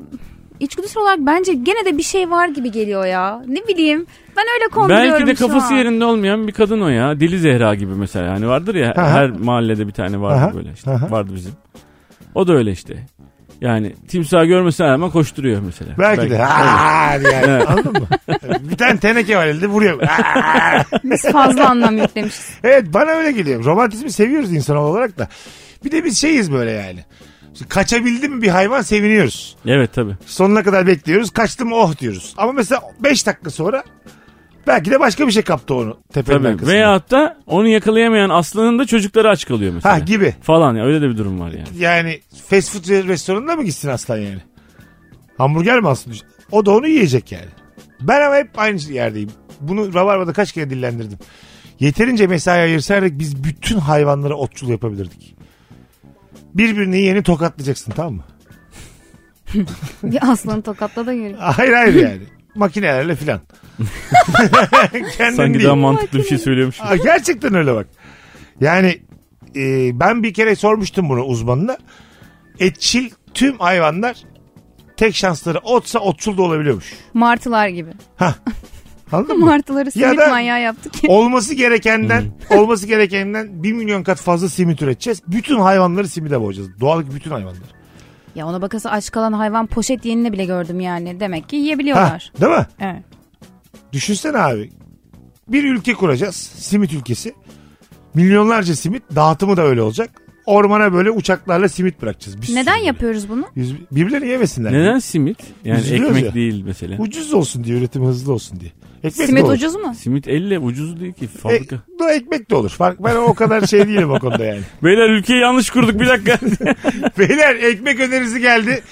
Speaker 5: içgüdüsel olarak bence gene de bir şey var gibi geliyor ya. Ne bileyim ben öyle konduruyorum
Speaker 4: Belki de
Speaker 5: şu
Speaker 4: kafası
Speaker 5: an.
Speaker 4: yerinde olmayan bir kadın o ya. Dili Zehra gibi mesela. Hani vardır ya
Speaker 3: Aha.
Speaker 4: her mahallede bir tane vardı
Speaker 3: Aha.
Speaker 4: böyle işte.
Speaker 3: Aha.
Speaker 4: Vardı bizim. O da öyle işte. Yani timsah görmesine rağmen koşturuyor mesela.
Speaker 3: Belki, de. Aa, yani. Anladın mı? bir tane teneke var elde vuruyor. Aa!
Speaker 5: Biz fazla anlam yüklemişiz.
Speaker 3: evet bana öyle geliyor. Romantizmi seviyoruz insan olarak da. Bir de biz şeyiz böyle yani. Şimdi Kaçabildi mi bir hayvan seviniyoruz.
Speaker 4: Evet tabii.
Speaker 3: Sonuna kadar bekliyoruz. Kaçtı mı oh diyoruz. Ama mesela 5 dakika sonra belki de başka bir şey kaptı onu tepenin
Speaker 4: Tabii.
Speaker 3: arkasında.
Speaker 4: Veyahut da onu yakalayamayan aslanın da çocukları aç kalıyor mesela.
Speaker 3: Ha gibi.
Speaker 4: Falan ya öyle de bir durum var yani.
Speaker 3: Yani fast food restoranına mı gitsin aslan yani? Hamburger mi alsın? O da onu yiyecek yani. Ben ama hep aynı yerdeyim. Bunu Rabarba'da kaç kere dillendirdim. Yeterince mesai ayırsaydık biz bütün hayvanlara otçul yapabilirdik. Birbirini yeni tokatlayacaksın tamam mı?
Speaker 5: Bir aslanı tokatla da göreyim.
Speaker 3: Hayır hayır yani. Makinelerle filan. Kendin
Speaker 4: Sanki
Speaker 3: değil.
Speaker 4: daha mantıklı bir şey söylüyormuşum.
Speaker 3: Aa, gerçekten öyle bak. Yani e, ben bir kere sormuştum bunu uzmanına. Etçil tüm hayvanlar tek şansları otsa otçul da olabiliyormuş.
Speaker 5: Martılar gibi.
Speaker 3: Anladın mı?
Speaker 5: Martıları
Speaker 3: Ya
Speaker 5: simit
Speaker 3: da-
Speaker 5: manyağı yaptık.
Speaker 3: olması gerekenden olması gerekenden bir milyon kat fazla simit üreteceğiz. Bütün hayvanları simide boğacağız. Doğal bütün hayvanları.
Speaker 5: ya ona bakasa aç kalan hayvan poşet yenini bile gördüm yani. Demek ki
Speaker 3: Ha,
Speaker 5: yiyebiliyorlar.
Speaker 3: değil mi?
Speaker 5: Evet.
Speaker 3: Düşünsene abi. Bir ülke kuracağız. Simit ülkesi. Milyonlarca simit. Dağıtımı da öyle olacak. Ormana böyle uçaklarla simit bırakacağız. Bir sürü
Speaker 5: Neden
Speaker 3: böyle.
Speaker 5: yapıyoruz bunu?
Speaker 3: Yüz- Birbirlerini yemesinler.
Speaker 4: Neden simit? Yani
Speaker 3: Üzülüyoruz
Speaker 4: ekmek
Speaker 3: ya.
Speaker 4: değil mesela.
Speaker 3: Ucuz olsun diye üretim hızlı olsun diye. Ekmek
Speaker 5: Simit
Speaker 3: de olur.
Speaker 5: ucuz mu?
Speaker 4: Simit elle ucuz değil ki
Speaker 3: E,
Speaker 4: fabrika.
Speaker 3: bu ekmek de olur. Fark, ben o kadar şey değilim o konuda yani.
Speaker 4: Beyler ülkeyi yanlış kurduk bir dakika.
Speaker 3: Beyler ekmek önerisi geldi.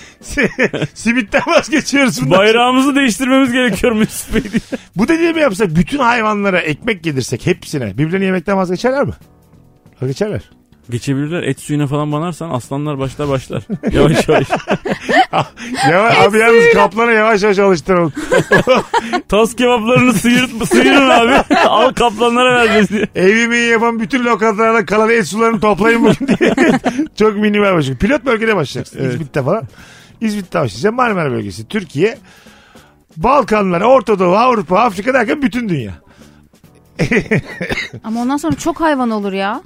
Speaker 3: Simitten vazgeçiyoruz bundan.
Speaker 4: Bayrağımızı değiştirmemiz gerekiyor Mesut Bey diye.
Speaker 3: Bu dediğimi yapsa bütün hayvanlara ekmek gelirsek hepsine birbirlerini yemekten vazgeçerler mi? Vazgeçerler.
Speaker 4: Geçebilirler et suyuna falan banarsan aslanlar başlar başlar. Yavaş yavaş.
Speaker 3: Yavaş, abi yalnız kaplanı yavaş yavaş alıştıralım.
Speaker 4: Tas kebaplarını sıyırt, sıyırın abi. Al kaplanlara vereceğiz diye.
Speaker 3: Evimi yapan bütün lokantalarda kalan et sularını toplayın bugün diye. Çok minimal başlıyor. Pilot bölgede başlayacaksın. İzmit'te falan. İzmit'te başlayacaksın. Marmara bölgesi. Türkiye. Balkanlar, Orta Doğu, Avrupa, Afrika derken bütün dünya.
Speaker 5: Ama ondan sonra çok hayvan olur ya.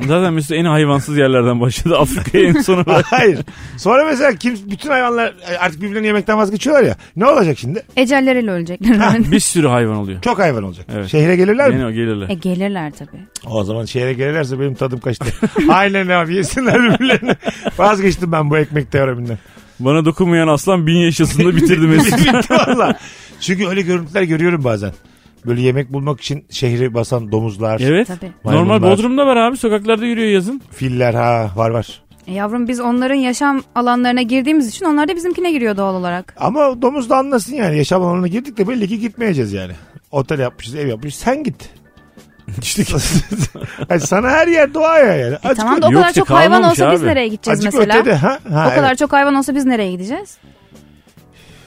Speaker 4: Zaten Mesut en hayvansız yerlerden başladı. Afrika'ya en sona bırak.
Speaker 3: Hayır. Sonra mesela kim bütün hayvanlar artık birbirlerini yemekten vazgeçiyorlar ya. Ne olacak şimdi?
Speaker 5: Ecelleriyle ölecekler. herhalde.
Speaker 4: Bir sürü hayvan oluyor.
Speaker 3: Çok hayvan olacak.
Speaker 4: Evet.
Speaker 3: Şehre gelirler mi?
Speaker 4: Yine o gelirler.
Speaker 5: e gelirler tabii.
Speaker 3: O zaman şehre gelirlerse benim tadım kaçtı. Aynen abi yesinler birbirlerini. Vazgeçtim ben bu ekmek teoreminden.
Speaker 4: Bana dokunmayan aslan bin yaşasında bitirdi Mesut.
Speaker 3: Bitti valla. Çünkü öyle görüntüler görüyorum bazen. Böyle yemek bulmak için şehri basan domuzlar,
Speaker 4: evet.
Speaker 5: Tabii.
Speaker 4: Normal
Speaker 3: Maymunlar.
Speaker 4: Bodrum'da var abi. Sokaklarda yürüyor yazın.
Speaker 3: filler ha var var.
Speaker 5: E yavrum biz onların yaşam alanlarına girdiğimiz için onlar da bizimkine giriyor doğal olarak.
Speaker 3: Ama domuz da anlasın yani yaşam alanına girdik de belli ki gitmeyeceğiz yani. Otel yapmışız, ev yapmışız. Sen git.
Speaker 4: İşte
Speaker 3: Yani sana her yer doğa ya yani. Azıcık,
Speaker 5: E, tamam da o
Speaker 4: Yok
Speaker 5: kadar
Speaker 4: işte,
Speaker 5: çok hayvan
Speaker 4: kalmamış
Speaker 5: olsa biz
Speaker 4: abi.
Speaker 5: nereye gideceğiz
Speaker 3: azıcık
Speaker 5: mesela?
Speaker 3: ötede. Ha? Ha,
Speaker 5: o kadar
Speaker 3: evet.
Speaker 5: çok hayvan olsa biz nereye gideceğiz?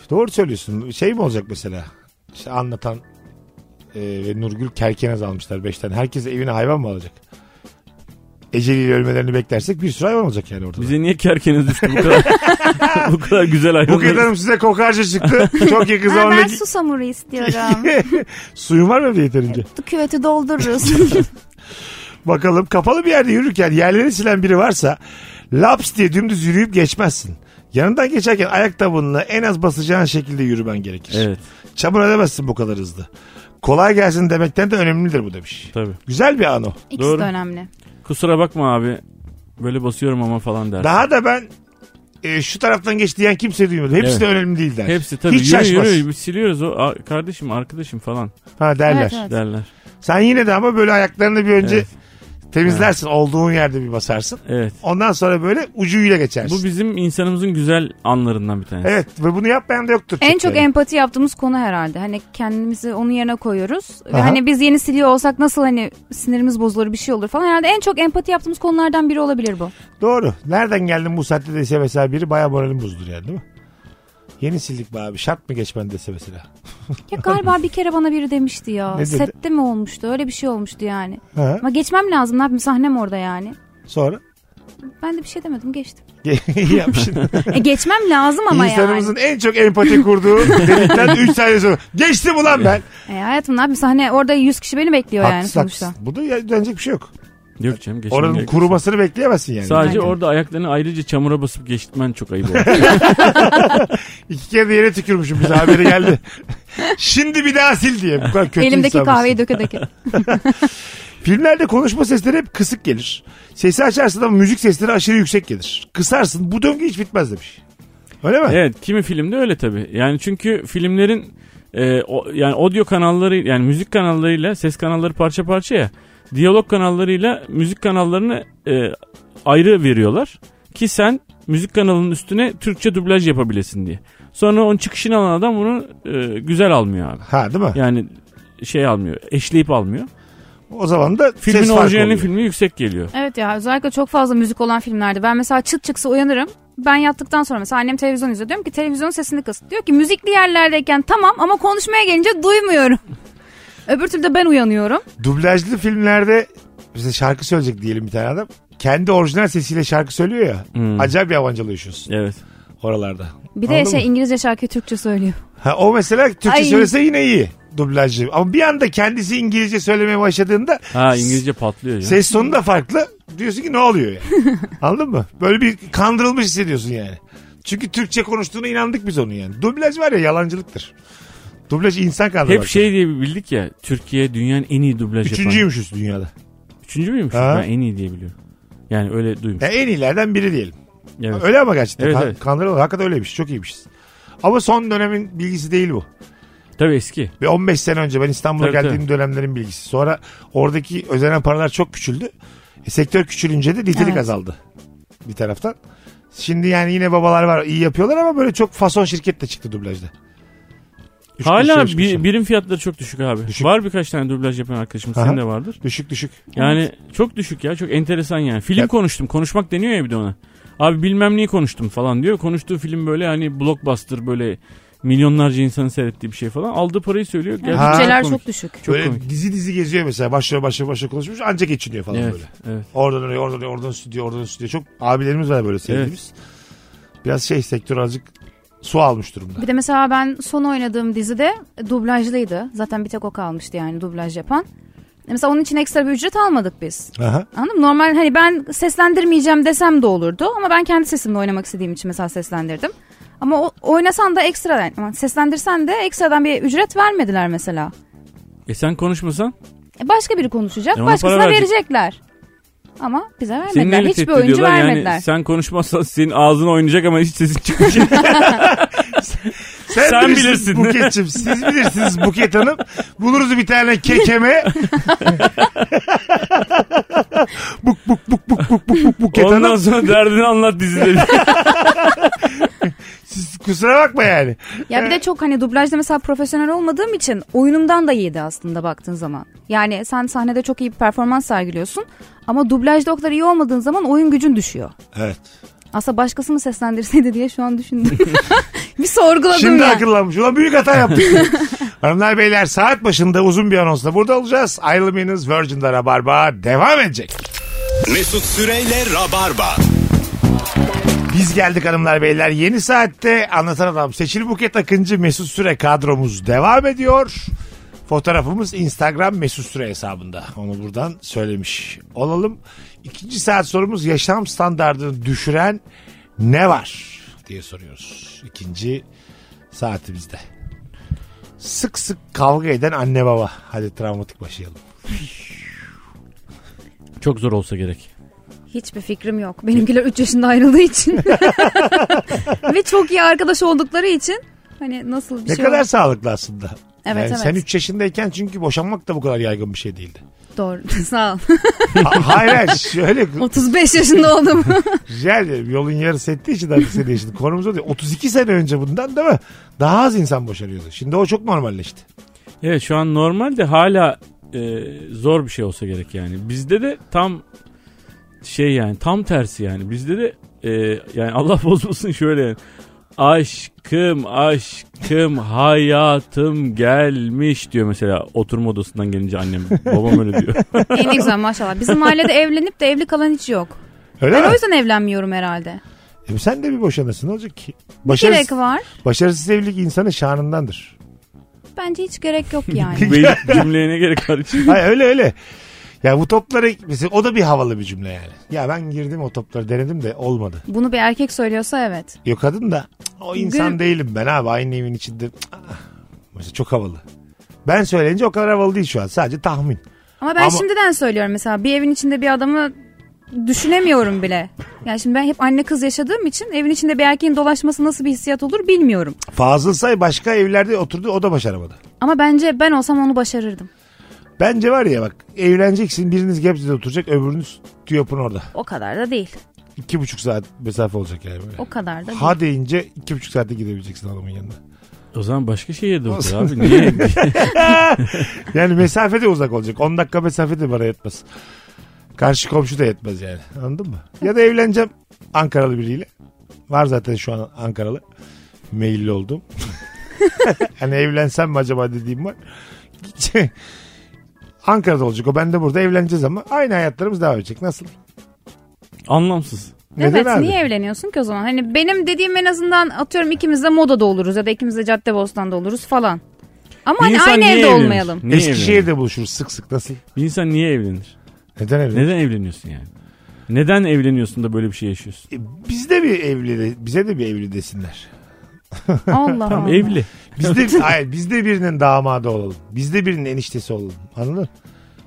Speaker 3: Doğru söylüyorsun. Şey mi olacak mesela? İşte anlatan e, ve Nurgül Kerkenez almışlar 5 tane. Herkes evine hayvan mı alacak? Eceliyle ölmelerini beklersek bir sürü hayvan olacak yani ortada.
Speaker 4: bize niye kerkeniz düştü bu kadar? bu kadar güzel hayvan.
Speaker 3: Buket Hanım size kokarca çıktı. Çok yakın
Speaker 5: Ha,
Speaker 3: zamanda
Speaker 5: ben susamuru istiyorum.
Speaker 3: suyun var mı evde yeterince?
Speaker 5: Küveti doldururuz.
Speaker 3: Bakalım kapalı bir yerde yürürken yerleri silen biri varsa laps diye dümdüz yürüyüp geçmezsin. Yanından geçerken ayak tabanına en az basacağın şekilde yürümen gerekir.
Speaker 4: Evet.
Speaker 3: Çamur edemezsin bu kadar hızlı. Kolay gelsin demekten de önemlidir bu demiş.
Speaker 4: Tabii.
Speaker 3: Güzel bir an o.
Speaker 5: İkisi
Speaker 4: Doğru.
Speaker 5: de önemli.
Speaker 4: Kusura bakma abi. Böyle basıyorum ama falan der.
Speaker 3: Daha da ben e, şu taraftan geç diyen kimse duymadım. Hepsi
Speaker 4: Evet.
Speaker 3: de önemli değil der.
Speaker 4: Hepsi tabii
Speaker 3: Hiç
Speaker 4: yürü
Speaker 3: şaşmaz.
Speaker 4: yürü biz siliyoruz o a- kardeşim arkadaşım falan
Speaker 3: Ha derler.
Speaker 5: Evet, evet.
Speaker 4: derler.
Speaker 3: Sen yine de ama böyle ayaklarını bir önce
Speaker 4: Evet.
Speaker 3: temizlersin. Olduğun yerde bir basarsın.
Speaker 4: Evet.
Speaker 3: Ondan sonra böyle ucuyla geçersin.
Speaker 4: Bu bizim insanımızın güzel anlarından bir tanesi.
Speaker 3: Evet ve bunu yapmayan da yoktur.
Speaker 5: En çok
Speaker 3: yani.
Speaker 5: empati yaptığımız konu herhalde. Hani kendimizi onun yerine koyuyoruz. Ve
Speaker 3: Aha.
Speaker 5: hani biz yeni siliyor olsak nasıl hani sinirimiz bozulur bir şey olur falan. Herhalde en çok empati yaptığımız konulardan biri olabilir bu.
Speaker 3: Doğru. Nereden geldin bu saatte dese mesela biri bayağı moralim bozulur yani değil mi? Yeni sildik be abi şart mı geçmen dese mesela.
Speaker 5: Ya galiba bir kere bana biri demişti ya.
Speaker 3: Ne dedi?
Speaker 5: Sette mi olmuştu? Öyle bir şey olmuştu yani.
Speaker 3: Ha,
Speaker 5: Ama geçmem lazım. Ne yapayım? Sahnem orada yani.
Speaker 3: sonra
Speaker 5: Ben de bir şey demedim. Geçtim.
Speaker 3: İyi yapmışsın.
Speaker 5: E geçmem lazım ama yani.
Speaker 3: İnsanımızın en çok empati kurduğu delikten 3 saniye sonra. Geçtim ulan ben.
Speaker 5: E hayatım ne yapayım? Sahne orada 100 kişi beni bekliyor yani
Speaker 3: Haksız
Speaker 5: sonuçta.
Speaker 3: haksız. Bu da ya- dönecek bir şey yok.
Speaker 4: Yok canım geçen
Speaker 3: Oranın
Speaker 4: gerek-
Speaker 3: kurumasını bekleyemezsin yani.
Speaker 4: Sadece
Speaker 5: Aynen.
Speaker 4: orada ayaklarını ayrıca çamura basıp geçitmen çok ayıp oldu.
Speaker 3: İki kere de yere tükürmüşüm bize haberi geldi. Şimdi bir daha sil diye. Bu kadar kötü
Speaker 5: Elimdeki
Speaker 3: insan mısın?
Speaker 5: kahveyi döke döke.
Speaker 3: Filmlerde konuşma sesleri hep kısık gelir. Sesi açarsın ama müzik sesleri aşırı yüksek gelir. Kısarsın bu döngü hiç bitmez demiş. Öyle mi?
Speaker 4: Evet kimi filmde öyle tabi. Yani çünkü filmlerin e, o, yani audio kanalları yani müzik kanallarıyla ses kanalları parça parça ya. Diyalog kanallarıyla müzik kanallarını e, ayrı veriyorlar ki sen müzik kanalının üstüne Türkçe dublaj yapabilesin diye. Sonra onun çıkışını alan adam bunu e, güzel almıyor abi.
Speaker 3: Ha değil mi?
Speaker 4: Yani şey almıyor, eşleyip almıyor.
Speaker 3: O zaman da
Speaker 4: Filmin
Speaker 3: ses farkı
Speaker 4: orijinalinin
Speaker 3: oluyor.
Speaker 4: filmi yüksek geliyor.
Speaker 5: Evet ya özellikle çok fazla müzik olan filmlerde. Ben mesela çıt çıksa uyanırım. Ben yattıktan sonra mesela annem televizyon izliyor. Diyorum ki televizyonun sesini kıs. Diyor ki müzikli yerlerdeyken tamam ama konuşmaya gelince duymuyorum. Öbür türlü de ben uyanıyorum.
Speaker 3: Dublajlı filmlerde bize şarkı söyleyecek diyelim bir tane adam. Kendi orijinal sesiyle şarkı söylüyor ya. Acayip yabancılıyorsunuz
Speaker 4: Evet.
Speaker 3: oralarda.
Speaker 5: Bir de
Speaker 3: Hmm. Anladın
Speaker 5: şey
Speaker 3: mı?
Speaker 5: İngilizce şarkıyı Türkçe söylüyor.
Speaker 3: Ha, o mesela Türkçe
Speaker 5: Ay.
Speaker 3: söylese yine iyi dublajcı. Ama bir anda kendisi İngilizce söylemeye başladığında
Speaker 4: Ha İngilizce patlıyor ya.
Speaker 3: ses tonu da farklı. Diyorsun ki ne oluyor yani. Anladın mı? Böyle bir kandırılmış hissediyorsun yani. Çünkü Türkçe konuştuğuna inandık biz onun yani. Dublaj var ya yalancılıktır. Dublaj insan kandırmak.
Speaker 4: Hep şey diye bildik ya. Türkiye dünyanın en iyi dublaj yapan.
Speaker 3: Üçüncüymüşüz dünyada.
Speaker 4: Üçüncü müymüş?
Speaker 3: Ha.
Speaker 4: Ben en iyi diye biliyorum. Yani öyle duymuş.
Speaker 3: Ya en iyilerden biri diyelim.
Speaker 4: Evet.
Speaker 3: E, Öyle ama gerçekten.
Speaker 4: Evet,
Speaker 3: kan-
Speaker 4: evet.
Speaker 3: Kandırılmadı. Hakikaten öyleymiş. Çok iyiymişiz. Ama son dönemin bilgisi değil bu.
Speaker 4: Tabii eski.
Speaker 3: Bir 15 sene önce ben İstanbul'a
Speaker 4: Tabii,
Speaker 3: geldiğim dönemlerin bilgisi. Sonra oradaki özenen paralar çok küçüldü. E, sektör küçülünce de nitelik
Speaker 5: Evet.
Speaker 3: azaldı bir taraftan. Şimdi yani yine babalar var iyi yapıyorlar ama böyle çok fason şirket de çıktı dublajda. Üç
Speaker 4: Hala
Speaker 3: kuruş, üç
Speaker 4: bir-
Speaker 3: kuruş.
Speaker 4: birim fiyatları çok düşük abi.
Speaker 3: Düşük.
Speaker 4: Var birkaç tane dublaj yapan arkadaşım.
Speaker 3: Aha.
Speaker 4: Senin de vardır.
Speaker 3: Düşük düşük.
Speaker 4: Yani çok düşük ya. Çok enteresan yani. Film
Speaker 3: Ya-
Speaker 4: konuştum. Konuşmak deniyor ya bir de ona. Abi bilmem neyi konuştum falan diyor. Konuştuğu film böyle hani blockbuster böyle milyonlarca insanın seyrettiği bir şey falan. Aldığı parayı söylüyor. Gerçekten
Speaker 5: Bütçeler
Speaker 4: komik.
Speaker 5: çok düşük.
Speaker 4: Çok
Speaker 3: böyle
Speaker 4: komik.
Speaker 3: dizi dizi geziyor mesela. Başlıyor başlıyor başlıyor konuşmuş ancak geçiniyor falan
Speaker 4: Evet,
Speaker 3: böyle.
Speaker 4: evet.
Speaker 3: Oradan oraya oradan oraya oradan stüdyo oradan stüdyo. Çok abilerimiz var böyle sevdiğimiz. Biraz şey sektör azıcık su almış durumda.
Speaker 5: Bir de mesela ben son oynadığım dizide dublajlıydı. Zaten bir tek o kalmıştı yani dublaj yapan. E Mesela onun için ekstra bir ücret almadık biz.
Speaker 3: Aha.
Speaker 5: Anladın mı? Normal hani ben seslendirmeyeceğim desem de olurdu. Ama ben kendi sesimle oynamak istediğim için mesela seslendirdim. Ama o, oynasan da ekstra yani aman seslendirsen de ekstradan bir ücret vermediler mesela.
Speaker 4: E sen konuşmasan
Speaker 5: E başka biri konuşacak,
Speaker 4: E ona
Speaker 5: başkasına
Speaker 4: para verecek.
Speaker 5: verecekler. Ama bize
Speaker 4: senin
Speaker 5: vermediler.
Speaker 4: öyle
Speaker 5: Hiçbir
Speaker 4: tehdit
Speaker 5: oyuncu
Speaker 4: ediyorlar.
Speaker 5: vermediler.
Speaker 4: Yani sen konuşmazsan senin ağzın oynayacak ama hiç sesin çıkmayacak.
Speaker 3: Sen,
Speaker 4: Sen
Speaker 3: bilirsin,
Speaker 4: bilirsin.
Speaker 3: Buket'cim. Siz bilirsiniz Buket Hanım. Buluruz bir tane kekeme. buk buk buk buk buk buk buk Buket
Speaker 4: Ondan
Speaker 3: Hanım.
Speaker 4: sonra derdini anlat dizileri.
Speaker 3: Siz kusura bakma yani.
Speaker 5: Ya bir de çok hani dublajda mesela profesyonel olmadığım için oyunumdan da iyiydi aslında baktığın zaman. Yani sen sahnede çok iyi bir performans sergiliyorsun ama dublajda o kadar iyi olmadığın zaman oyun gücün düşüyor.
Speaker 3: Evet.
Speaker 5: Aslında başkasını seslendirseydi diye şu an düşündüm. bir sorguladım
Speaker 3: Şimdi
Speaker 5: ya.
Speaker 3: akıllanmış. Ulan büyük hata yaptık. Hanımlar beyler saat başında uzun bir anonsla burada olacağız. Ayrılmayınız Virgin'de Rabarba devam edecek.
Speaker 2: Mesut Süreyle Rabarba.
Speaker 3: Biz geldik hanımlar beyler. Yeni saatte anlatan adam Seçil Buket Akıncı Mesut Süre kadromuz devam ediyor. Fotoğrafımız Instagram Mesut Süre hesabında. Onu buradan söylemiş olalım. İkinci saat sorumuz yaşam standartını düşüren ne var diye soruyoruz. İkinci saatimizde. Sık sık kavga eden anne baba. Hadi travmatik başlayalım.
Speaker 4: Çok zor olsa gerek.
Speaker 5: Hiçbir fikrim yok. Benimkiler 3 yaşında ayrıldığı için. Ve çok iyi arkadaş oldukları için hani nasıl bir
Speaker 3: Ne
Speaker 5: şey
Speaker 3: kadar
Speaker 5: oldu?
Speaker 3: sağlıklı aslında.
Speaker 5: Evet,
Speaker 3: Yani
Speaker 5: evet.
Speaker 3: Sen 3 yaşındayken çünkü boşanmak da bu kadar yaygın bir şey değildi.
Speaker 5: Doğru. Sağ ol.
Speaker 3: Ha- Hayır hayır şöyle
Speaker 5: 35 yaşında oldum.
Speaker 3: Rica ederim. Yolun yarısı ettiği için artık seni yaşadı. Konumuz o değil. 32 sene önce bundan değil mi? Daha az insan boşanıyordu. Şimdi o çok normalleşti.
Speaker 4: Evet şu an normal de hala e, zor bir şey olsa gerek yani. Bizde de tam şey yani tam tersi yani. Bizde de e, yani Allah bozmasın şöyle yani. Aşkım aşkım hayatım gelmiş diyor mesela oturma odasından gelince annem babam öyle diyor.
Speaker 5: en güzel maşallah. Bizim ailede evlenip de evli kalan hiç yok.
Speaker 3: Öyle
Speaker 5: Ben o
Speaker 3: mi?
Speaker 5: yüzden evlenmiyorum herhalde.
Speaker 3: E sen de bir boşanırsın. Ne olacak ki?
Speaker 4: Şey,
Speaker 5: Gerek
Speaker 3: Başarısız,
Speaker 5: var.
Speaker 3: başarısız evlilik insanın şanındandır.
Speaker 5: Bence hiç gerek yok yani.
Speaker 4: Bu beylik cümleye ne gerek var hiç?
Speaker 3: Hayır öyle öyle. Ya bu toplara mesela o da bir havalı bir cümle yani. Ya ben girdim o topları denedim de olmadı.
Speaker 5: Bunu bir erkek söylüyorsa evet.
Speaker 3: Yok kadın da "Cık, o insan
Speaker 5: Gül-
Speaker 3: değilim ben abi aynı evin içinde. Cık, ah." Mesela çok havalı. Ben söyleyince o kadar havalı değil şu an. Sadece tahmin.
Speaker 5: Ama ben
Speaker 3: Ama-
Speaker 5: şimdiden söylüyorum mesela bir evin içinde bir adamı düşünemiyorum bile. Yani şimdi ben hep anne kız yaşadığım için evin içinde bir erkeğin dolaşması nasıl bir hissiyat olur bilmiyorum.
Speaker 3: Fazıl Say başka evlerde oturdu o da başaramadı.
Speaker 5: Ama bence ben olsam onu başarırdım.
Speaker 3: Bence var ya bak evleneceksin biriniz Gebze'de oturacak öbürünüz Tiyop'un orada.
Speaker 5: O kadar da değil.
Speaker 3: İki buçuk saat mesafe olacak yani böyle.
Speaker 5: O kadar da değil.
Speaker 3: Ha deyince iki buçuk saatte gidebileceksin adamın yanına.
Speaker 4: O zaman başka şeye de otur
Speaker 3: Olsun.
Speaker 4: abi. Niye?
Speaker 3: Yani mesafe de uzak olacak. 10 dakika mesafe de bana yetmez. Karşı komşu da yetmez yani. Anladın mı? Ya da evleneceğim Ankaralı biriyle. Var zaten şu an Ankaralı. Meyilli oldum. hani evlensem mi acaba dediğim var. Ankara'da olacak o. Ben de burada evleneceğiz ama aynı hayatlarımız devam edecek. Nasıl?
Speaker 4: Anlamsız.
Speaker 5: evet niye evleniyorsun ki o zaman? Hani benim dediğim en azından atıyorum ikimiz de modada oluruz ya da ikimiz de Caddebostan'da oluruz falan. Ama hani
Speaker 4: İnsan
Speaker 5: aynı
Speaker 4: niye
Speaker 5: evde
Speaker 4: evlenir?
Speaker 5: olmayalım.
Speaker 4: Niye evlenir?
Speaker 3: Eskişehir'de buluşuruz sık sık. Nasıl?
Speaker 4: Bir insan niye evlenir?
Speaker 3: Neden evlen?
Speaker 4: Neden evleniyorsun yani? Neden evleniyorsun da böyle bir şey yaşıyorsun?
Speaker 3: E, Biz de bir evli de- bize de bir evli desinler.
Speaker 5: Allah
Speaker 4: Tamam
Speaker 5: Allah.
Speaker 4: evli.
Speaker 3: Biz de, hayır, biz de birinin damadı olalım. Biz de birinin eniştesi olalım. Anladın mı?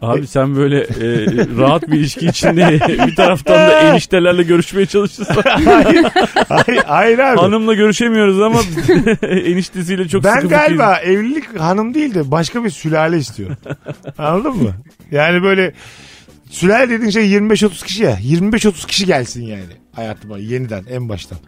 Speaker 4: Abi sen böyle e, rahat bir ilişki içinde bir taraftan da eniştelerle görüşmeye çalışırsan
Speaker 3: hayır, hayır, hayır abi.
Speaker 4: hanımla görüşemiyoruz ama eniştesiyle çok
Speaker 3: ben
Speaker 4: sıkı
Speaker 3: galiba evlilik hanım değil de başka bir sülale istiyorum. Anladın mı? Yani böyle sülale dediğin şey 25-30 kişi ya. 25-30 kişi gelsin yani hayatıma yeniden en baştan.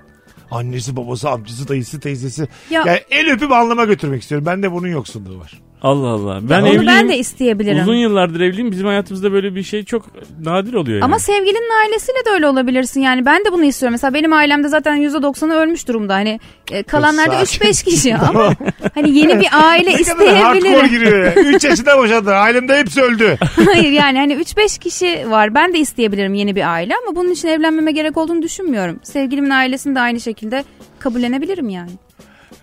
Speaker 3: Annesi, babası, amcası, dayısı, teyzesi.
Speaker 5: Ya-
Speaker 3: Yani el öpüp anlama götürmek istiyorum. Ben de bunun yoksunluğu var.
Speaker 4: Allah Allah. Ben
Speaker 5: Onu
Speaker 4: evliyim.
Speaker 5: ben de isteyebilirim.
Speaker 4: Uzun yıllardır evliyim. Bizim hayatımızda böyle bir şey çok nadir oluyor yani.
Speaker 5: Ama sevgilinin ailesiyle de öyle olabilirsin yani. Ben de bunu istiyorum. Mesela benim ailemde zaten %90'ı ölmüş durumda. Hani e, kalanlarda
Speaker 3: Sakin.
Speaker 5: 3-5 kişi ama hani yeni bir aile
Speaker 3: Ne kadar hardcore
Speaker 5: isteyebilirim.
Speaker 3: giriyor ya. 3 yaşında boşandı. Ailemde hepsi öldü.
Speaker 5: Hayır yani hani 3-5 kişi var. Ben de isteyebilirim yeni bir aile ama bunun için evlenmeme gerek olduğunu düşünmüyorum. Sevgilimin ailesini de aynı şekilde kabullenebilirim yani.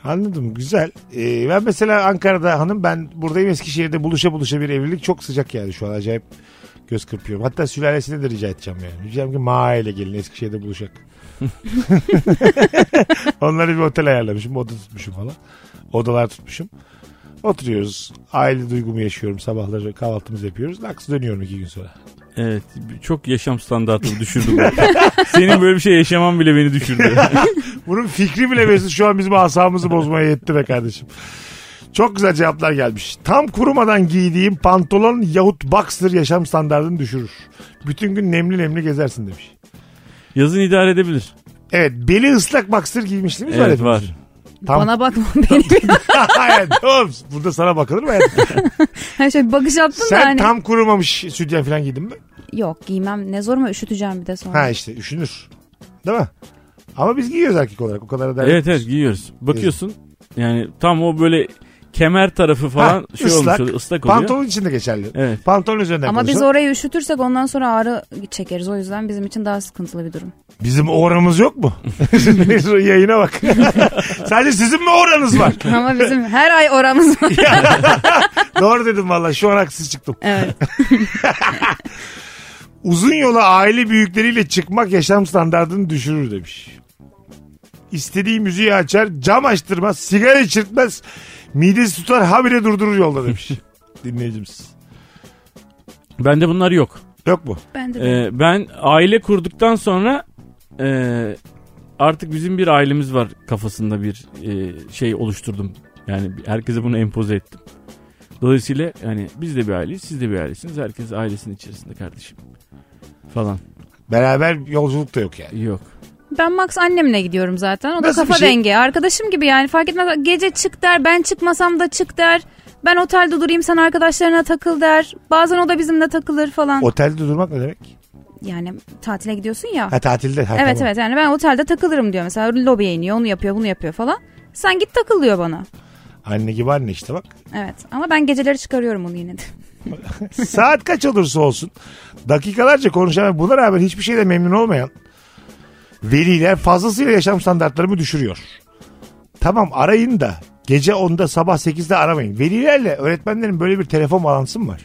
Speaker 3: Anladım güzel. Ee, ben mesela Ankara'da hanım ben buradayım Eskişehir'de buluşa buluşa bir evlilik çok sıcak yani şu an acayip göz kırpıyorum. Hatta sülalesine de rica edeceğim yani. Diyeceğim ki Maa ile gelin Eskişehir'de buluşak. Onları bir otel ayarlamışım oda tutmuşum falan. Odalar tutmuşum. Oturuyoruz. Aile duygumu yaşıyorum. Sabahları kahvaltımızı yapıyoruz. Laks dönüyorum iki gün sonra.
Speaker 4: Evet çok yaşam standartımı düşürdü bu. Senin böyle bir şey yaşaman bile beni düşürdü.
Speaker 3: Bunun fikri bile Mesut şu an bizim asabımızı bozmaya yetti be kardeşim. Çok güzel cevaplar gelmiş. Tam kurumadan giydiğim pantolon yahut boxer yaşam standartını düşürür. Bütün gün nemli nemli gezersin demiş.
Speaker 4: Yazın idare edebilir.
Speaker 3: Evet beli ıslak boxer giymiştiniz mi?
Speaker 4: Evet var.
Speaker 3: Tam-
Speaker 5: Bana bakma beni.
Speaker 3: Hayır, oğlum, burada sana bakılır mı? hayatım?
Speaker 5: Hani şöyle bir bakış attın da
Speaker 3: Sen
Speaker 5: hani.
Speaker 3: tam kurumamış sütyen falan giydin mi?
Speaker 5: Yok giymem ne zoruma üşüteceğim bir de sonra.
Speaker 3: Ha işte üşünür. Değil mi? Ama biz giyiyoruz erkek olarak. O kadar da derdi
Speaker 4: Evet
Speaker 3: değil.
Speaker 4: evet giyiyoruz. Bakıyorsun yani tam o böyle kemer tarafı falan
Speaker 3: Ha,
Speaker 4: şey olmuş oluyor, ıslak oluyor.
Speaker 3: Pantolon içinde geçerli.
Speaker 4: Evet.
Speaker 3: Pantolon üzerinden
Speaker 5: Ama biz
Speaker 3: konuşalım.
Speaker 5: orayı üşütürsek ondan sonra ağrı çekeriz. O yüzden bizim için daha sıkıntılı bir durum.
Speaker 3: Bizim oranımız yok mu? Mesut'un yayına bak. Sadece sizin mi oranız var?
Speaker 5: Ama bizim her ay oramız var.
Speaker 3: Doğru dedim valla şu an haksız çıktım.
Speaker 5: Evet.
Speaker 3: Uzun yola aile büyükleriyle çıkmak yaşam standartını düşürür demiş. İstediği müziği açar, cam açtırmaz, sigara içirtmez, midesi tutar habire durdurur yolda demiş. Dinleyicimiz.
Speaker 4: Bende bunlar yok.
Speaker 3: Yok mu?
Speaker 5: Ben de
Speaker 4: Ee, ben aile kurduktan sonra e, artık bizim bir ailemiz var kafasında bir e, şey oluşturdum. Yani herkese bunu empoze ettim. Dolayısıyla yani biz de bir aileyiz, siz de bir ailesiniz. Herkes ailesinin içerisinde kardeşim. Falan.
Speaker 3: Beraber yolculuk da yok yani.
Speaker 4: Yok.
Speaker 5: Ben Max annemle gidiyorum zaten. O da
Speaker 3: Nasıl bir
Speaker 5: kafa
Speaker 3: şey?
Speaker 5: dengi. Arkadaşım gibi yani fark etmez. Gece çık der, ben çıkmasam da çık der. Ben otelde durayım sen arkadaşlarına takıl der. Bazen o da bizimle takılır falan.
Speaker 3: Otelde durmak ne demek?
Speaker 5: Yani tatile gidiyorsun ya.
Speaker 3: Ha tatilde. Ha,
Speaker 5: evet
Speaker 3: tamam.
Speaker 5: evet yani ben otelde takılırım diyor. Mesela lobiye iniyor onu yapıyor bunu yapıyor falan. Sen git takıl diyor bana.
Speaker 3: Anne gibi anne işte bak.
Speaker 5: Evet ama ben geceleri çıkarıyorum onu yine de.
Speaker 3: Saat kaç olursa olsun dakikalarca konuşan ve buna rağmen hiçbir şeyle memnun olmayan veliler fazlasıyla yaşam standartlarımı düşürüyor. Tamam arayın da gece 10'da sabah 8'de aramayın. Velilerle öğretmenlerin böyle bir telefon bağlantısı mı var?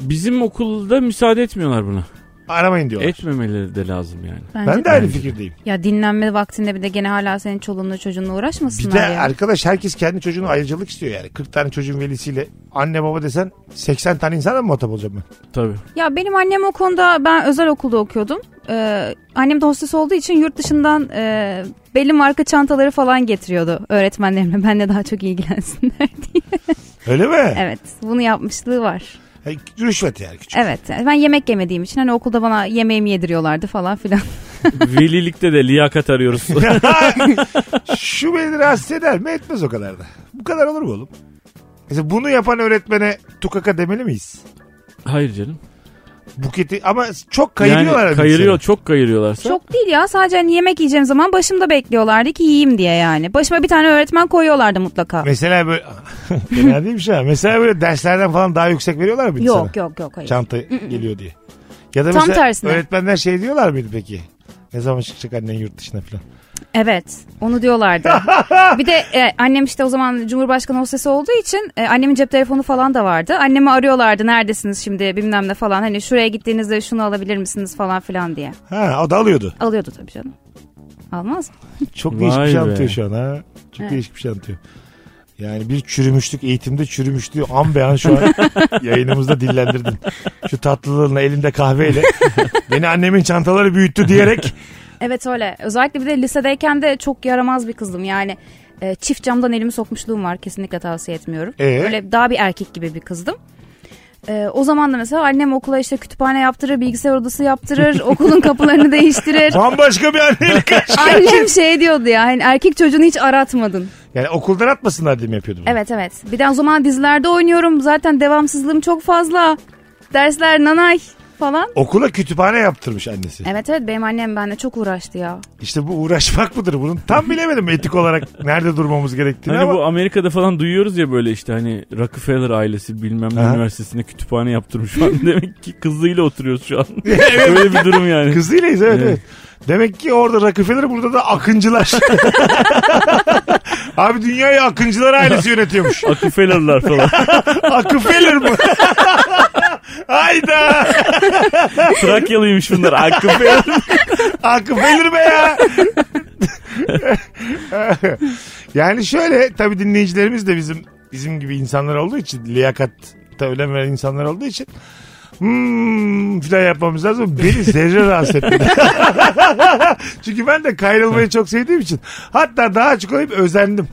Speaker 4: Bizim okulda müsaade etmiyorlar buna.
Speaker 3: aramayın
Speaker 4: E,
Speaker 3: diyorlar.
Speaker 4: Etmemeleri de lazım yani.
Speaker 5: Bence
Speaker 3: ben de aynı fikirdeyim.
Speaker 5: Ya dinlenme vaktinde bir de gene hala senin çoluğunla çocuğunla
Speaker 3: Bir
Speaker 5: uğraşmasınlar
Speaker 3: de
Speaker 5: ya.
Speaker 3: arkadaş herkes kendi çocuğuna ayrıcalık istiyor yani. 40 tane çocuğun velisiyle anne baba desen 80 tane insana mı muhatap olacağım ben?
Speaker 4: Tabii.
Speaker 5: Ya benim annem o konuda ben özel okulda okuyordum. Ee, annem de hostes olduğu için yurt dışından e, belli marka çantaları falan getiriyordu öğretmenlerimle. Benle daha çok ilgilensinler diye.
Speaker 3: Öyle mi?
Speaker 5: evet bunu yapmışlığı var.
Speaker 3: Yani rüşvet yani küçük.
Speaker 5: Evet yani ben yemek yemediğim için hani okulda bana yemeğimi yediriyorlardı falan filan.
Speaker 4: Velilikte de liyakat arıyoruz.
Speaker 3: Şu beni rahatsız eder mi? Etmez o kadar da. Bu kadar olur mu oğlum? Mesela bunu yapan öğretmene tukaka demeli miyiz?
Speaker 4: Hayır canım.
Speaker 3: Buketi ama çok kayırıyorlar.
Speaker 4: Yani
Speaker 3: abi
Speaker 4: kayırıyor
Speaker 3: seni.
Speaker 4: çok kayırıyorlarsa.
Speaker 5: Çok değil ya sadece hani yemek yiyeceğim zaman başımda bekliyorlardı ki yiyeyim diye yani. Başıma bir tane öğretmen koyuyorlardı mutlaka.
Speaker 3: Mesela böyle fena değilmiş ha. Mesela böyle derslerden falan daha yüksek veriyorlar mıydı sana?
Speaker 5: Yok yok yok hayır.
Speaker 3: Çanta geliyor diye. Ya da
Speaker 5: Tam
Speaker 3: mesela
Speaker 5: tersine.
Speaker 3: öğretmenler şey diyorlar mıydı peki? Ne zaman çıkacak annen yurt dışına falan.
Speaker 5: Evet onu diyorlardı. bir de e, annem işte o zaman Cumhurbaşkanı hostesi olduğu için e, annemin cep telefonu falan da vardı. Annemi arıyorlardı neredesiniz şimdi bilmem ne falan. Hani şuraya gittiğinizde şunu alabilir misiniz falan filan diye.
Speaker 3: Ha o da alıyordu.
Speaker 5: Alıyordu tabii canım. Almaz mı?
Speaker 3: Çok
Speaker 4: Vay
Speaker 3: değişik bir şey
Speaker 4: be.
Speaker 3: anlatıyor şu an ha. Çok değişik bir şey anlatıyor. Yani bir çürümüşlük eğitimde çürümüşlüğü an be an şu an yayınımızda dillendirdin. Şu tatlılığınla elinde kahveyle beni annemin çantaları büyüttü diyerek
Speaker 5: Evet öyle. Özellikle bir de lisedeyken de çok yaramaz bir kızdım. Yani e, çift camdan elimi sokmuşluğum var. Kesinlikle tavsiye etmiyorum.
Speaker 3: Ee?
Speaker 5: Böyle daha bir erkek gibi bir kızdım. E, o zaman da mesela annem okula işte kütüphane yaptırır, bilgisayar odası yaptırır, okulun kapılarını değiştirir.
Speaker 3: bambaşka bir annelik karşı-
Speaker 5: Annem şey diyordu ya hani erkek çocuğunu hiç aratmadın.
Speaker 3: Yani okuldan atmasınlar diye mi yapıyordu bunu?
Speaker 5: Evet evet. Bir de o zaman dizilerde oynuyorum. Zaten devamsızlığım çok fazla. Dersler nanay falan.
Speaker 3: Okula kütüphane yaptırmış annesi.
Speaker 5: Evet evet benim annem benimle çok uğraştı ya.
Speaker 3: İşte bu uğraşmak mıdır bunun? Tam bilemedim etik olarak nerede durmamız gerektiğini
Speaker 4: Hani
Speaker 3: ama.
Speaker 4: bu Amerika'da falan duyuyoruz ya böyle işte hani Rockefeller ailesi bilmem ne
Speaker 3: Aha.
Speaker 4: üniversitesine kütüphane yaptırmış falan. Demek ki kızıyla oturuyoruz şu an. Böyle bir durum yani.
Speaker 3: Kızıylayız evet, evet.
Speaker 4: Evet.
Speaker 3: Demek ki orada Rockefeller burada da akıncılar. Abi dünyayı akıncılar ailesi yönetiyormuş.
Speaker 4: Rockefeller'lar falan.
Speaker 3: Akıfeler mı? Hayda.
Speaker 4: Trakyalıymış bunlar. Rockefeller.
Speaker 3: Akıfeler be ya. yani şöyle tabii dinleyicilerimiz de bizim bizim gibi insanlar olduğu için liyakat önem veren insanlar olduğu için hmm filan yapmamız lazım. Beni zerre rahatsız etmedi. Çünkü ben de kayrılmayı çok sevdiğim için. Hatta daha açık olayım özendim.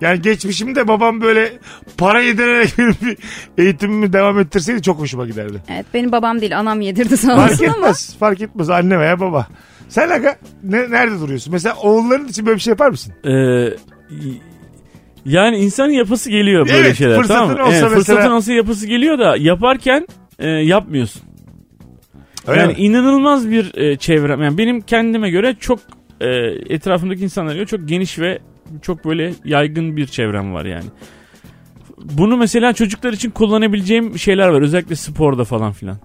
Speaker 3: Yani geçmişimde babam böyle para yedirerek benim bir eğitimimi devam ettirseydi çok hoşuma giderdi.
Speaker 5: Evet benim babam değil anam yedirdi sağ
Speaker 3: Fark
Speaker 5: olsun ama.
Speaker 3: etmez. Fark etmez anne veya baba. Sen aga ne, nerede duruyorsun? Mesela oğulların için böyle bir şey yapar mısın?
Speaker 4: Ee, y- yani insanın yapası geliyor böyle
Speaker 3: Evet,
Speaker 4: şeyler.
Speaker 3: fırsatın
Speaker 4: tamam mı?
Speaker 3: olsa
Speaker 4: Evet, fırsatın
Speaker 3: mesela-
Speaker 4: olsa yapası geliyor da yaparken e, yapmıyorsun.
Speaker 3: Öyle
Speaker 4: yani
Speaker 3: mi?
Speaker 4: inanılmaz bir e, çevrem. Yani benim kendime göre çok e, etrafımdaki insanlara göre çok geniş ve çok böyle yaygın bir çevrem var yani. Bunu mesela çocuklar için kullanabileceğim şeyler var. Özellikle sporda falan filan.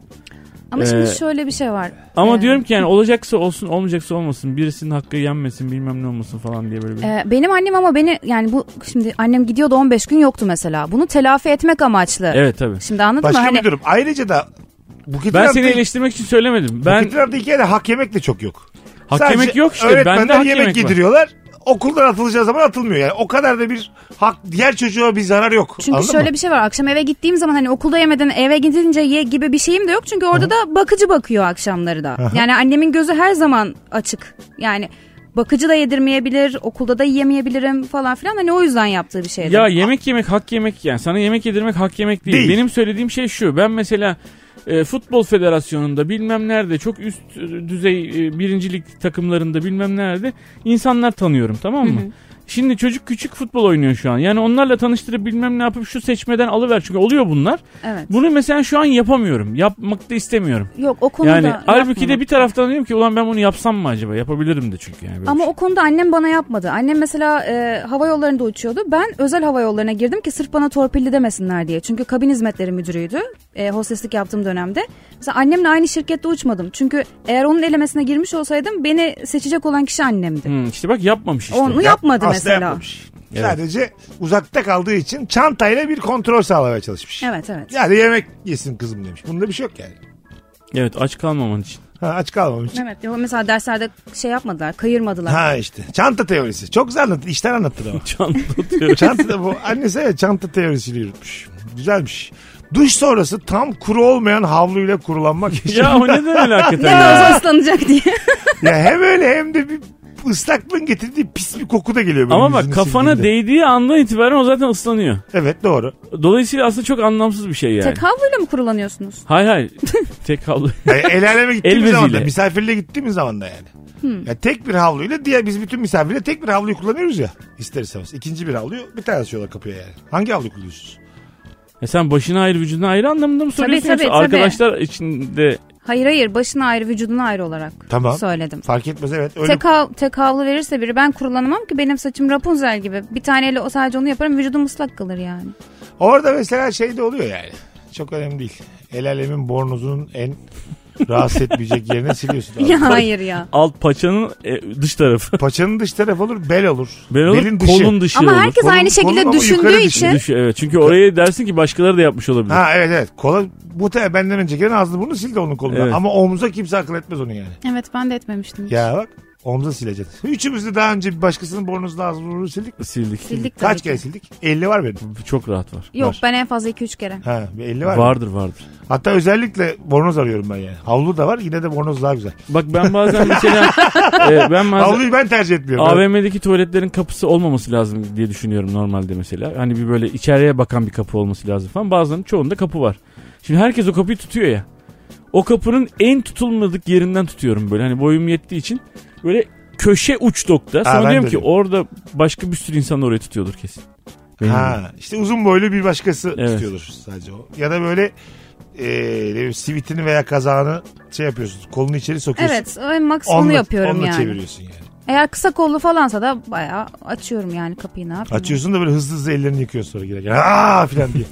Speaker 5: Ama şimdi
Speaker 4: Ee,
Speaker 5: şöyle bir şey var.
Speaker 4: Ama
Speaker 5: Evet.
Speaker 4: diyorum ki yani olacaksa olsun olmayacaksa olmasın. Birisinin hakkı yenmesin bilmem ne olmasın falan diye böyle bir.
Speaker 5: Ee, benim annem ama beni yani bu şimdi annem gidiyordu 15 gün yoktu mesela. Bunu telafi etmek amaçlı.
Speaker 4: Evet tabii.
Speaker 5: Şimdi anladın
Speaker 3: Başka
Speaker 5: mı? Hani
Speaker 3: bir durum. Ayrıca da Buket'in
Speaker 4: Ben
Speaker 3: yaptığı-
Speaker 4: seni eleştirmek için söylemedim. Ben
Speaker 3: Buket'in yaptığı hikayede hak yemek de çok yok.
Speaker 4: hak
Speaker 3: Sadece
Speaker 4: yemek yok işte.
Speaker 3: öğretmenler
Speaker 4: Bende hak
Speaker 3: yemek,
Speaker 4: yemek var.
Speaker 3: yediriyorlar. Okuldan atılacağı zaman atılmıyor. Yani o kadar da bir hak diğer çocuğa bir zarar yok.
Speaker 5: Çünkü
Speaker 3: Anladın
Speaker 5: şöyle
Speaker 3: mı?
Speaker 5: bir şey var. Akşam eve gittiğim zaman hani okulda yemeden eve gidince ye gibi bir şeyim de yok. Çünkü orada da bakıcı bakıyor akşamları da. Yani annemin gözü her zaman açık. Yani bakıcı da yedirmeyebilir, okulda da yiyemeyebilirim falan filan. Hani o yüzden yaptığı bir şeydi.
Speaker 4: Ya yemek yemek hak yemek yani. Sana yemek yedirmek hak yemek değil.
Speaker 3: Değil.
Speaker 4: Benim söylediğim şey şu. Ben mesela e, futbol federasyonunda bilmem nerede çok üst e, düzey e, birincilik takımlarında bilmem nerede insanlar tanıyorum tamam mı? Şimdi çocuk küçük futbol oynuyor şu an. Yani onlarla tanıştırıp bilmem ne yapıp şu seçmeden alıver. Çünkü oluyor bunlar.
Speaker 5: Evet.
Speaker 4: Bunu mesela şu an yapamıyorum. Yapmak da istemiyorum.
Speaker 5: Yok o konuda
Speaker 4: Yani halbuki de
Speaker 5: yapmadım.
Speaker 4: bir taraftan diyorum ki ulan ben bunu yapsam mı acaba? Yapabilirim de çünkü yani. böyle
Speaker 5: ama
Speaker 4: bir
Speaker 5: o konuda annem bana yapmadı. Annem mesela e, hava yollarında uçuyordu. Ben özel hava yollarına girdim ki sırf bana torpilli demesinler diye. Çünkü kabin hizmetleri müdürüydü. E, hosteslik yaptığım dönemde. Mesela annemle aynı şirkette uçmadım. Çünkü eğer onun elemesine girmiş olsaydım beni seçecek olan kişi annemdi.
Speaker 4: şey. Hmm, işte bak yapmamış işte.
Speaker 5: Onu
Speaker 3: Yap-
Speaker 5: şey yapmadı
Speaker 3: Aslı
Speaker 5: mesela.
Speaker 3: yapmamış. Sadece uzakta kaldığı için çantayla bir kontrol sağlamaya çalışmış.
Speaker 5: Evet evet.
Speaker 3: Yani yemek yesin kızım demiş. Bunda bir şey yok yani.
Speaker 4: Evet aç kalmaman için.
Speaker 3: Ha, aç kalmamış.
Speaker 5: Evet ya mesela derslerde şey yapmadılar kayırmadılar.
Speaker 3: Ha işte. Çanta teorisi. Çok güzel anlattı. İşten anlattı ama.
Speaker 4: Çanta atıyor.
Speaker 3: çanta da bu. Annesi evet, çanta teorisiyle yürütmüş. Güzelmiş. Duş sonrası tam kuru olmayan havluyla kurulanmak.
Speaker 4: ya o neden öyle hakikaten
Speaker 5: Daha
Speaker 4: ya?
Speaker 5: az ıslanacak diye.
Speaker 3: ya hem öyle hem de bir ıslaklığın getirdiği pis bir koku da geliyor. böyle
Speaker 4: Ama bak
Speaker 3: yüzüne
Speaker 4: kafana
Speaker 3: sildiğinde.
Speaker 4: değdiği andan itibaren o zaten ıslanıyor.
Speaker 3: Evet doğru.
Speaker 4: Dolayısıyla aslında çok anlamsız bir şey yani.
Speaker 5: Tek havluyla mı kurulanıyorsunuz?
Speaker 4: Hayır hayır. Tek havlu.
Speaker 3: Yani el aleme gittiğimiz
Speaker 4: El Hmm.
Speaker 3: zaman da
Speaker 4: beziyle.
Speaker 3: misafirle gittiğimiz zaman da yani. Ya tek bir havluyla diğer biz bütün misafirle tek bir havluyu kullanıyoruz ya ister istemez. İkinci bir havluyu bir tane asıyorlar kapıya yani. Hangi havluyu kullanıyorsunuz?
Speaker 4: E sen başına ayrı vücuduna ayrı anlamında mı söylüyorsun?
Speaker 5: tabii,
Speaker 4: yoksa
Speaker 5: tabii.
Speaker 4: Arkadaşlar içinde
Speaker 5: Hayır hayır başına ayrı vücuduna ayrı olarak
Speaker 3: Tamam.
Speaker 5: söyledim.
Speaker 3: Fark etmez evet. Öyle
Speaker 5: Tek, hav- tek havlu verirse biri ben kurulanamam ki benim saçım Rapunzel gibi. Bir taneyle o sadece onu yaparım vücudum ıslak kalır yani.
Speaker 3: Orada mesela şey de oluyor yani. Çok önemli değil. El alemin bornozunun en rahatsız etmeyecek yerine siliyorsun. abi.
Speaker 5: ya hayır ya.
Speaker 4: alt paçanın e, dış tarafı.
Speaker 3: Paçanın dış tarafı olur, bel olur.
Speaker 4: Ben olur,
Speaker 3: Belin dışı.
Speaker 4: kolun dışı
Speaker 5: Ama
Speaker 4: olur.
Speaker 5: herkes
Speaker 3: Kolun-
Speaker 5: aynı şekilde
Speaker 3: kolun ama yukarı şey.
Speaker 5: düşündüğü
Speaker 3: düşün-
Speaker 5: için
Speaker 4: Dışı, evet. Çünkü oraya dersin ki başkaları da yapmış olabilir.
Speaker 3: Ha evet evet. Kola muhtemelen benden önce gelen ağzını bunu sildi onun kolundan.
Speaker 4: Evet.
Speaker 3: Ama omza kimse akıl etmez onu yani.
Speaker 5: Evet ben de etmemiştim.
Speaker 3: Ya bak omza sileceksin. Üçümüz de daha önce bir başkasının bornozunu ağzını burnunu sildik.
Speaker 4: Sildik.
Speaker 5: Sildik tabii
Speaker 3: Kaç
Speaker 5: ki.
Speaker 3: kere sildik? 50 var benim.
Speaker 4: Çok rahat var.
Speaker 5: Yok
Speaker 3: Var.
Speaker 5: ben en fazla 2-3 kere.
Speaker 3: Ha, bir 50 var.
Speaker 4: Vardır vardır.
Speaker 3: Hatta özellikle bornoz arıyorum ben yani. Havlu da var yine de bornoz daha güzel.
Speaker 4: Bak ben bazen mesela e, ben bazen
Speaker 3: Havluyu ben tercih etmiyorum.
Speaker 4: AVM'deki tuvaletlerin kapısı olmaması lazım diye düşünüyorum normalde mesela. Hani bir böyle içeriye bakan bir kapı olması lazım falan. Bazılarının çoğunda kapı var. Şimdi herkes o kapıyı tutuyor ya. O kapının en tutulmadık yerinden tutuyorum böyle. Hani boyum yettiği için böyle köşe uç nokta. Sana
Speaker 3: ben
Speaker 4: diyorum
Speaker 3: de
Speaker 4: ki
Speaker 3: diyorum.
Speaker 4: orada başka bir sürü insan da oraya tutuyordur kesin. Benim gibi.
Speaker 3: Ha, işte uzun boylu bir başkası
Speaker 4: Evet.
Speaker 3: tutuyordur sadece o. Ya da böyle e, ne bileyim, sivitini veya kazağını şey yapıyorsun. Kolunu içeri sokuyorsun.
Speaker 5: Evet en maks onu yapıyorum
Speaker 3: onunla
Speaker 5: yani.
Speaker 3: çeviriyorsun yani.
Speaker 5: Eğer kısa kollu falansa da bayağı açıyorum yani kapıyı ne yapayım.
Speaker 3: Açıyorsun da böyle hızlı hızlı ellerini yıkıyorsun sonra girerken. Aa filan diye.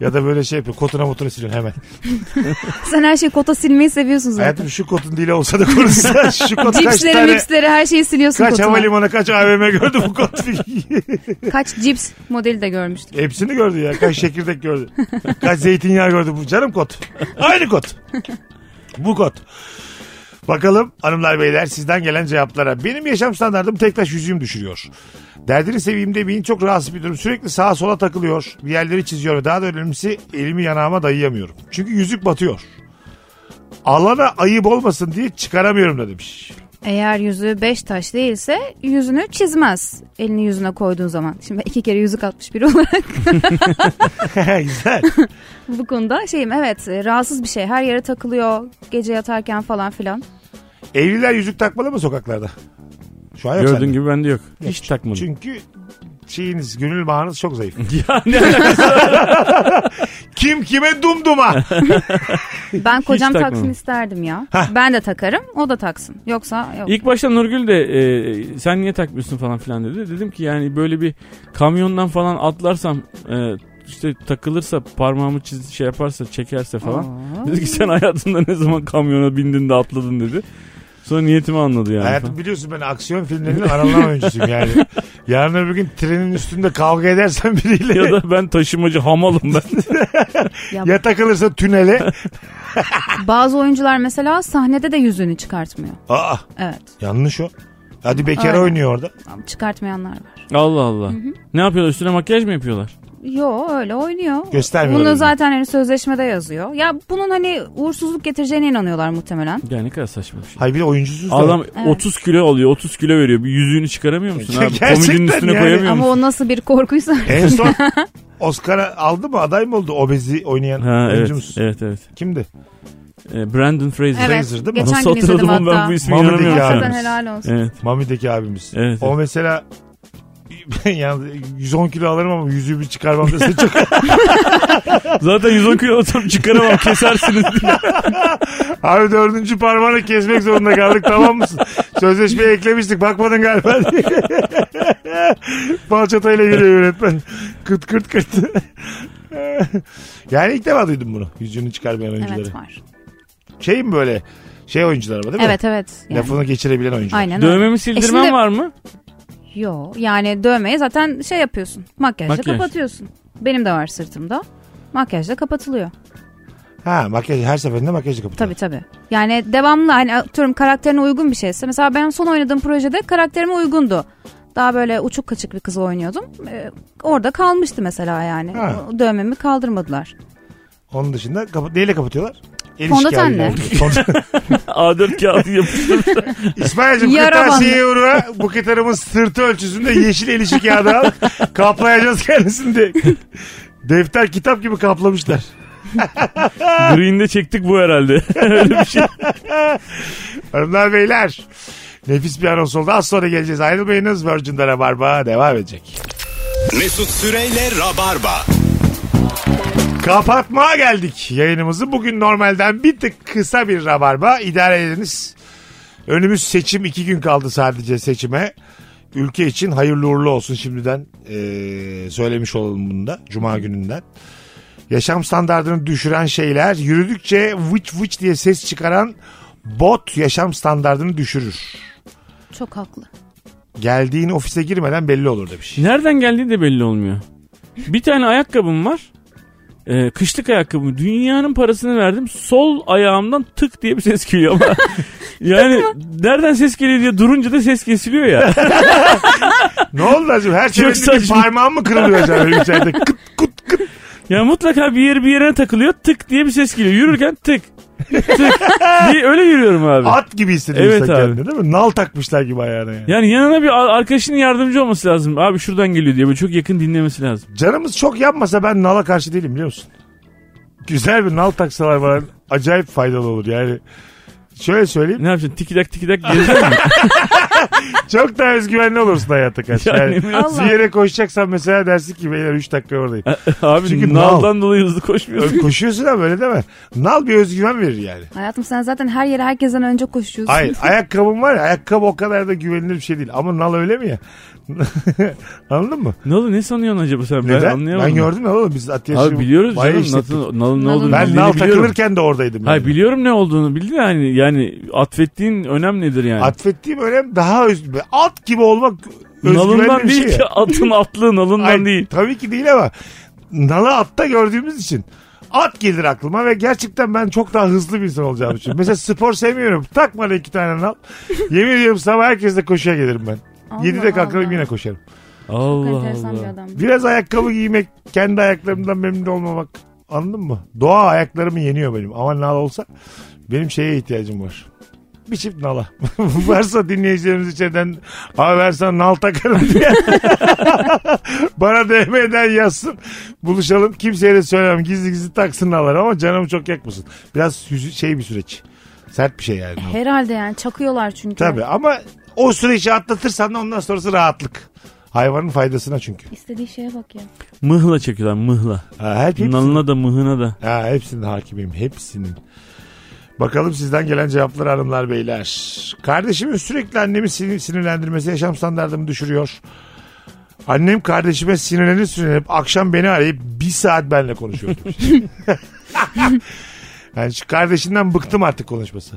Speaker 3: ya da böyle şey yapıyor. Kotuna motora siliyorsun hemen.
Speaker 5: Sen her şeyi kota silmeyi seviyorsun zaten.
Speaker 3: Hayatım şu kotun dili olsa da konuşsa. Şu kot kaç
Speaker 5: Cipsleri
Speaker 3: tane...
Speaker 5: mipsleri her şeyi siliyorsun
Speaker 3: Kaç
Speaker 5: kotuna.
Speaker 3: havalimanı kaç AVM gördü bu kot.
Speaker 5: Kaç cips modeli de görmüştüm.
Speaker 3: Hepsini gördü ya. Kaç çekirdek gördü. Kaç zeytinyağı gördü bu canım kot. Aynı kot. Bu kot. Bakalım hanımlar beyler sizden gelen cevaplara. Benim yaşam standartım tek taş yüzüğüm düşürüyor. Derdini seveyim demeyin çok rahatsız bir durum. Sürekli sağa sola takılıyor. Bir yerleri çiziyor ve daha da önemlisi elimi yanağıma dayayamıyorum. Çünkü yüzük batıyor. Alana ayıp olmasın diye çıkaramıyorum da demiş.
Speaker 5: Eğer yüzüğü beş taş değilse yüzünü çizmez. Elini yüzüne koyduğun zaman. Şimdi ben iki kere yüzük atmış biri olarak
Speaker 3: Güzel.
Speaker 5: bu konuda şeyim evet e, rahatsız bir şey. Her yere takılıyor gece yatarken falan filan.
Speaker 3: Evliler yüzük takmalı mı sokaklarda? Şu an yok sende.
Speaker 4: Gördüğün gibi bende yok. Hiç takmadım.
Speaker 3: Çünkü şeyiniz gönül bağınız çok zayıf.
Speaker 4: Ya ne alakası?
Speaker 3: Kim kime dumduma.
Speaker 5: Ben kocam
Speaker 4: takmadım.
Speaker 5: taksın isterdim ya. Ben de takarım o da taksın. Yoksa yok.
Speaker 4: İlk başta Nurgül de e, sen niye takmıyorsun falan filan dedi. Dedim ki yani böyle bir kamyondan falan atlarsam e, işte takılırsa parmağımı çiz, şey yaparsa çekerse falan.
Speaker 5: Aa.
Speaker 4: Dedi ki sen hayatında ne zaman kamyona bindin de atladın dedi. Sonra niyetimi anladı yani.
Speaker 3: Hayatım
Speaker 4: falan.
Speaker 3: biliyorsun ben aksiyon filmlerinin aranan oyuncusuyum yani. Yarın öbür gün trenin üstünde kavga edersen biriyle
Speaker 4: Ya
Speaker 3: ya,
Speaker 4: da ben taşımacı hamalım ben.
Speaker 3: takılırsa tünele.
Speaker 5: Bazı oyuncular mesela sahnede de yüzüğünü çıkartmıyor.
Speaker 3: Aa
Speaker 5: Evet
Speaker 3: yanlış o. Hadi bekar
Speaker 5: Aynen.
Speaker 3: oynuyor orada.
Speaker 5: çıkartmayanlar var.
Speaker 4: Allah Allah. Ne yapıyorlar üstüne makyaj mı yapıyorlar?
Speaker 5: Yo öyle oynuyor.
Speaker 3: Göstermiyor.
Speaker 5: Bunu
Speaker 3: oyunu.
Speaker 5: zaten hani sözleşmede yazıyor. Ya bunun hani uğursuzluk getireceğine inanıyorlar muhtemelen.
Speaker 4: Ya ne kadar saçma bir şey.
Speaker 3: Hayır bir de oyuncusuz da.
Speaker 4: Adam
Speaker 5: Evet.
Speaker 4: 30 kilo alıyor 30 kilo veriyor. Bir yüzüğünü çıkaramıyor musun abi?
Speaker 3: Gerçekten
Speaker 4: Komodinin üstüne
Speaker 3: yani.
Speaker 4: koyamıyor
Speaker 5: Ama
Speaker 4: musun?
Speaker 5: o nasıl bir korkuysa.
Speaker 4: E,
Speaker 3: En son Oscar'a aldı mı aday mı oldu obezi oynayan
Speaker 4: Ha, evet,
Speaker 3: oyuncumuz?
Speaker 4: evet evet.
Speaker 3: Kimdi?
Speaker 4: E, Brandon Fraser.
Speaker 5: evet.
Speaker 3: Fraser değil mi?
Speaker 5: Geçen
Speaker 4: Nasıl
Speaker 5: gün izledim
Speaker 4: hatırladım oğlum ben bu
Speaker 5: hatta.
Speaker 4: ismi
Speaker 3: Mamadou
Speaker 4: inanamıyorum.
Speaker 3: Diallo.
Speaker 4: şu an.
Speaker 5: Gerçekten helal olsun.
Speaker 4: Evet.
Speaker 3: Mami'deki abimiz.
Speaker 4: Evet,
Speaker 3: O
Speaker 4: evet.
Speaker 3: mesela yani 110 kilo alırım ama yüzümü çıkarmam dese çok
Speaker 4: Zaten 110 kilo olsam çıkaramam kesersiniz diye.
Speaker 3: Abi dördüncü parmağını kesmek zorunda kaldık tamam mısın? Sözleşmeye eklemiştik bakmadın galiba diye. Falçatayla geliyor yönetmen. Kıt kıt kıt. yani ilk defa duydum bunu. Yüzünü çıkarmayan oyuncuları.
Speaker 5: Evet var.
Speaker 3: Şey mi böyle? Şey oyuncular ama değil mi?
Speaker 5: Evet evet. Yani.
Speaker 3: Lafını geçirebilen oyuncular.
Speaker 5: Aynen öyle.
Speaker 4: Dövmemi sildirmem
Speaker 5: E şimdi-
Speaker 4: var mı?
Speaker 5: Yo yani dövmeye zaten şey yapıyorsun. Makyajla
Speaker 4: Makyaj.
Speaker 5: kapatıyorsun. Benim de var sırtımda. Makyajla kapatılıyor.
Speaker 3: Ha makyaj her seferinde makyajı kapatıyor.
Speaker 5: Tabii tabii. Yani devamlı hani atıyorum karakterine uygun bir şeyse. Mesela ben son oynadığım projede karakterime uygundu. Daha böyle uçuk kaçık bir kızı oynuyordum. Ee, orada kalmıştı mesela yani.
Speaker 3: Ha.
Speaker 5: O Dövmemi kaldırmadılar.
Speaker 3: Onun dışında kapa- neyle kapatıyorlar? El
Speaker 5: Fondötenle.
Speaker 3: işi kağıdı. Fondö-
Speaker 4: A4 kağıdı yapıştırmış.
Speaker 3: İsmail'cim
Speaker 5: Yara
Speaker 3: kırtasiyeye uğra bu gitarımın sırtı ölçüsünde yeşil el işi kağıdı al. Kaplayacağız kendisini de. Defter kitap gibi kaplamışlar.
Speaker 4: Green'de çektik bu herhalde. Öyle bir şey.
Speaker 3: Hanımlar beyler. Nefis bir anons oldu. Az sonra geleceğiz. Ayrılmayınız. Virgin'de Rabarba devam edecek.
Speaker 2: Mesut Süreyle Rabarba.
Speaker 3: Kapatmaya geldik yayınımızı. Bugün normalden bir tık kısa bir rabarba. İdare ediniz. Önümüz seçim. iki gün kaldı sadece seçime. Ülke için hayırlı uğurlu olsun şimdiden. Ee, söylemiş olalım bunu da. Cuma gününden. Yaşam standartını düşüren şeyler yürüdükçe vıç vıç diye ses çıkaran bot yaşam standartını düşürür.
Speaker 5: Çok haklı.
Speaker 3: Geldiğin ofise girmeden belli olur demiş.
Speaker 4: Nereden geldiği de belli olmuyor. Bir tane ayakkabım var. Ee, kışlık ayakkabı. Dünyanın parasını verdim. Sol ayağımdan tık diye bir ses geliyor ama. yani nereden ses geliyor diye durunca da ses kesiliyor ya.
Speaker 3: ne oldu acaba? Her seferinde bir
Speaker 4: saçma.
Speaker 3: parmağın mı kırılıyor acaba? Bir içeride? Kıt kıt kıt.
Speaker 4: ya mutlaka bir yer bir yere takılıyor. Tık diye bir ses geliyor. Yürürken tık. Tık. diye öyle yürüyorum abi.
Speaker 3: At gibi hissediyorsun
Speaker 4: Evet
Speaker 3: sen
Speaker 4: abi.
Speaker 3: kendini değil mi? Nal takmışlar gibi ayağına yani.
Speaker 4: Yani yanına bir a- arkadaşının yardımcı olması lazım. Abi şuradan geliyor diye. Böyle çok yakın dinlemesi lazım.
Speaker 3: Canımız çok yanmasa ben nala karşı değilim biliyor musun? Güzel bir nal taksalar bana acayip faydalı olur yani. Şöyle söyleyeyim.
Speaker 4: Ne yapacaksın? Tikidak tikidak gelecek mi?
Speaker 3: Çok daha özgüvenli olursun hayata karşı.
Speaker 4: Yani
Speaker 3: Yani
Speaker 5: biraz-
Speaker 3: bir yere koşacaksan mesela dersin ki beyler 3 dakika oradayım.
Speaker 4: abi
Speaker 3: Çünkü
Speaker 4: naldan dolayı hızlı koşmuyorsun.
Speaker 3: Koşuyorsun ama öyle deme. Nal bir özgüven verir yani.
Speaker 5: Hayatım sen zaten her yere herkesten önce koşuyorsun.
Speaker 3: Hayır ayakkabım var ya ayakkabı o kadar da güvenilir bir şey değil. Ama nal öyle mi ya? Anladın mı?
Speaker 4: Ne oldu ne sanıyorsun acaba sen? Ben
Speaker 3: Neden? Ben,
Speaker 4: anlayamadım.
Speaker 3: gördüm ya oğlum biz Atiye
Speaker 4: Abi biliyoruz
Speaker 3: bayağı
Speaker 4: canım
Speaker 3: işlettik.
Speaker 4: Nathan- Nal'ın ne
Speaker 5: Nal'ın-
Speaker 4: olduğunu
Speaker 3: Ben
Speaker 4: bildiğini
Speaker 3: nal
Speaker 4: biliyorum.
Speaker 3: takılırken de oradaydım.
Speaker 4: Hayır
Speaker 3: yani.
Speaker 4: biliyorum ne olduğunu bildin yani yani atfettiğin önem nedir yani?
Speaker 3: Atfettiğim önem daha öz, at gibi olmak özgüvenli
Speaker 4: nalından
Speaker 3: bir
Speaker 4: değil
Speaker 3: şey.
Speaker 4: ki atın atlığı nalından
Speaker 3: Ay,
Speaker 4: değil.
Speaker 3: Tabii ki değil ama nalı atta gördüğümüz için at gelir aklıma ve gerçekten ben çok daha hızlı bir insan olacağım için. Mesela spor sevmiyorum. Tak bana iki tane nal. Yemin ediyorum sabah herkesle koşuya gelirim ben.
Speaker 5: Allah
Speaker 3: 7'de kalkarım
Speaker 5: Allah.
Speaker 3: yine koşarım.
Speaker 5: Çok
Speaker 4: Allah
Speaker 5: enteresan bir
Speaker 4: Allah.
Speaker 5: adam.
Speaker 3: Biraz ayakkabı giymek, kendi ayaklarımdan memnun olmamak. Anladın mı? Doğa ayaklarımı yeniyor benim. Ama nal olsa benim şeye ihtiyacım var. Bir çift nala. Varsa dinleyicilerimiz içeriden abi ben sana nal takarım diye. Bana DM'den yazsın. Buluşalım. Kimseye de söylemem. Gizli gizli taksın naları ama canımı çok yakmasın. Biraz hüzü- şey bir süreç. Sert bir şey yani.
Speaker 5: Herhalde yani çakıyorlar çünkü.
Speaker 3: Tabii ama o süreci atlatırsan da ondan sonrası rahatlık. Hayvanın faydasına çünkü.
Speaker 5: İstediği şeye bak ya.
Speaker 4: Mıhla çekiyorlar mıhla.
Speaker 3: Ha, her hepsi-
Speaker 4: Nalına da mıhına da.
Speaker 3: Ha, hepsinin hakimiyim. Hepsinin. Bakalım sizden gelen cevaplar hanımlar beyler. Kardeşimin sürekli annemi sinir, sinirlendirmesi yaşam standartımı düşürüyor. Annem kardeşime sinirlenir sinirlenip akşam beni arayıp bir saat benimle konuşuyor. demiş. yani şu kardeşinden bıktım artık konuşması.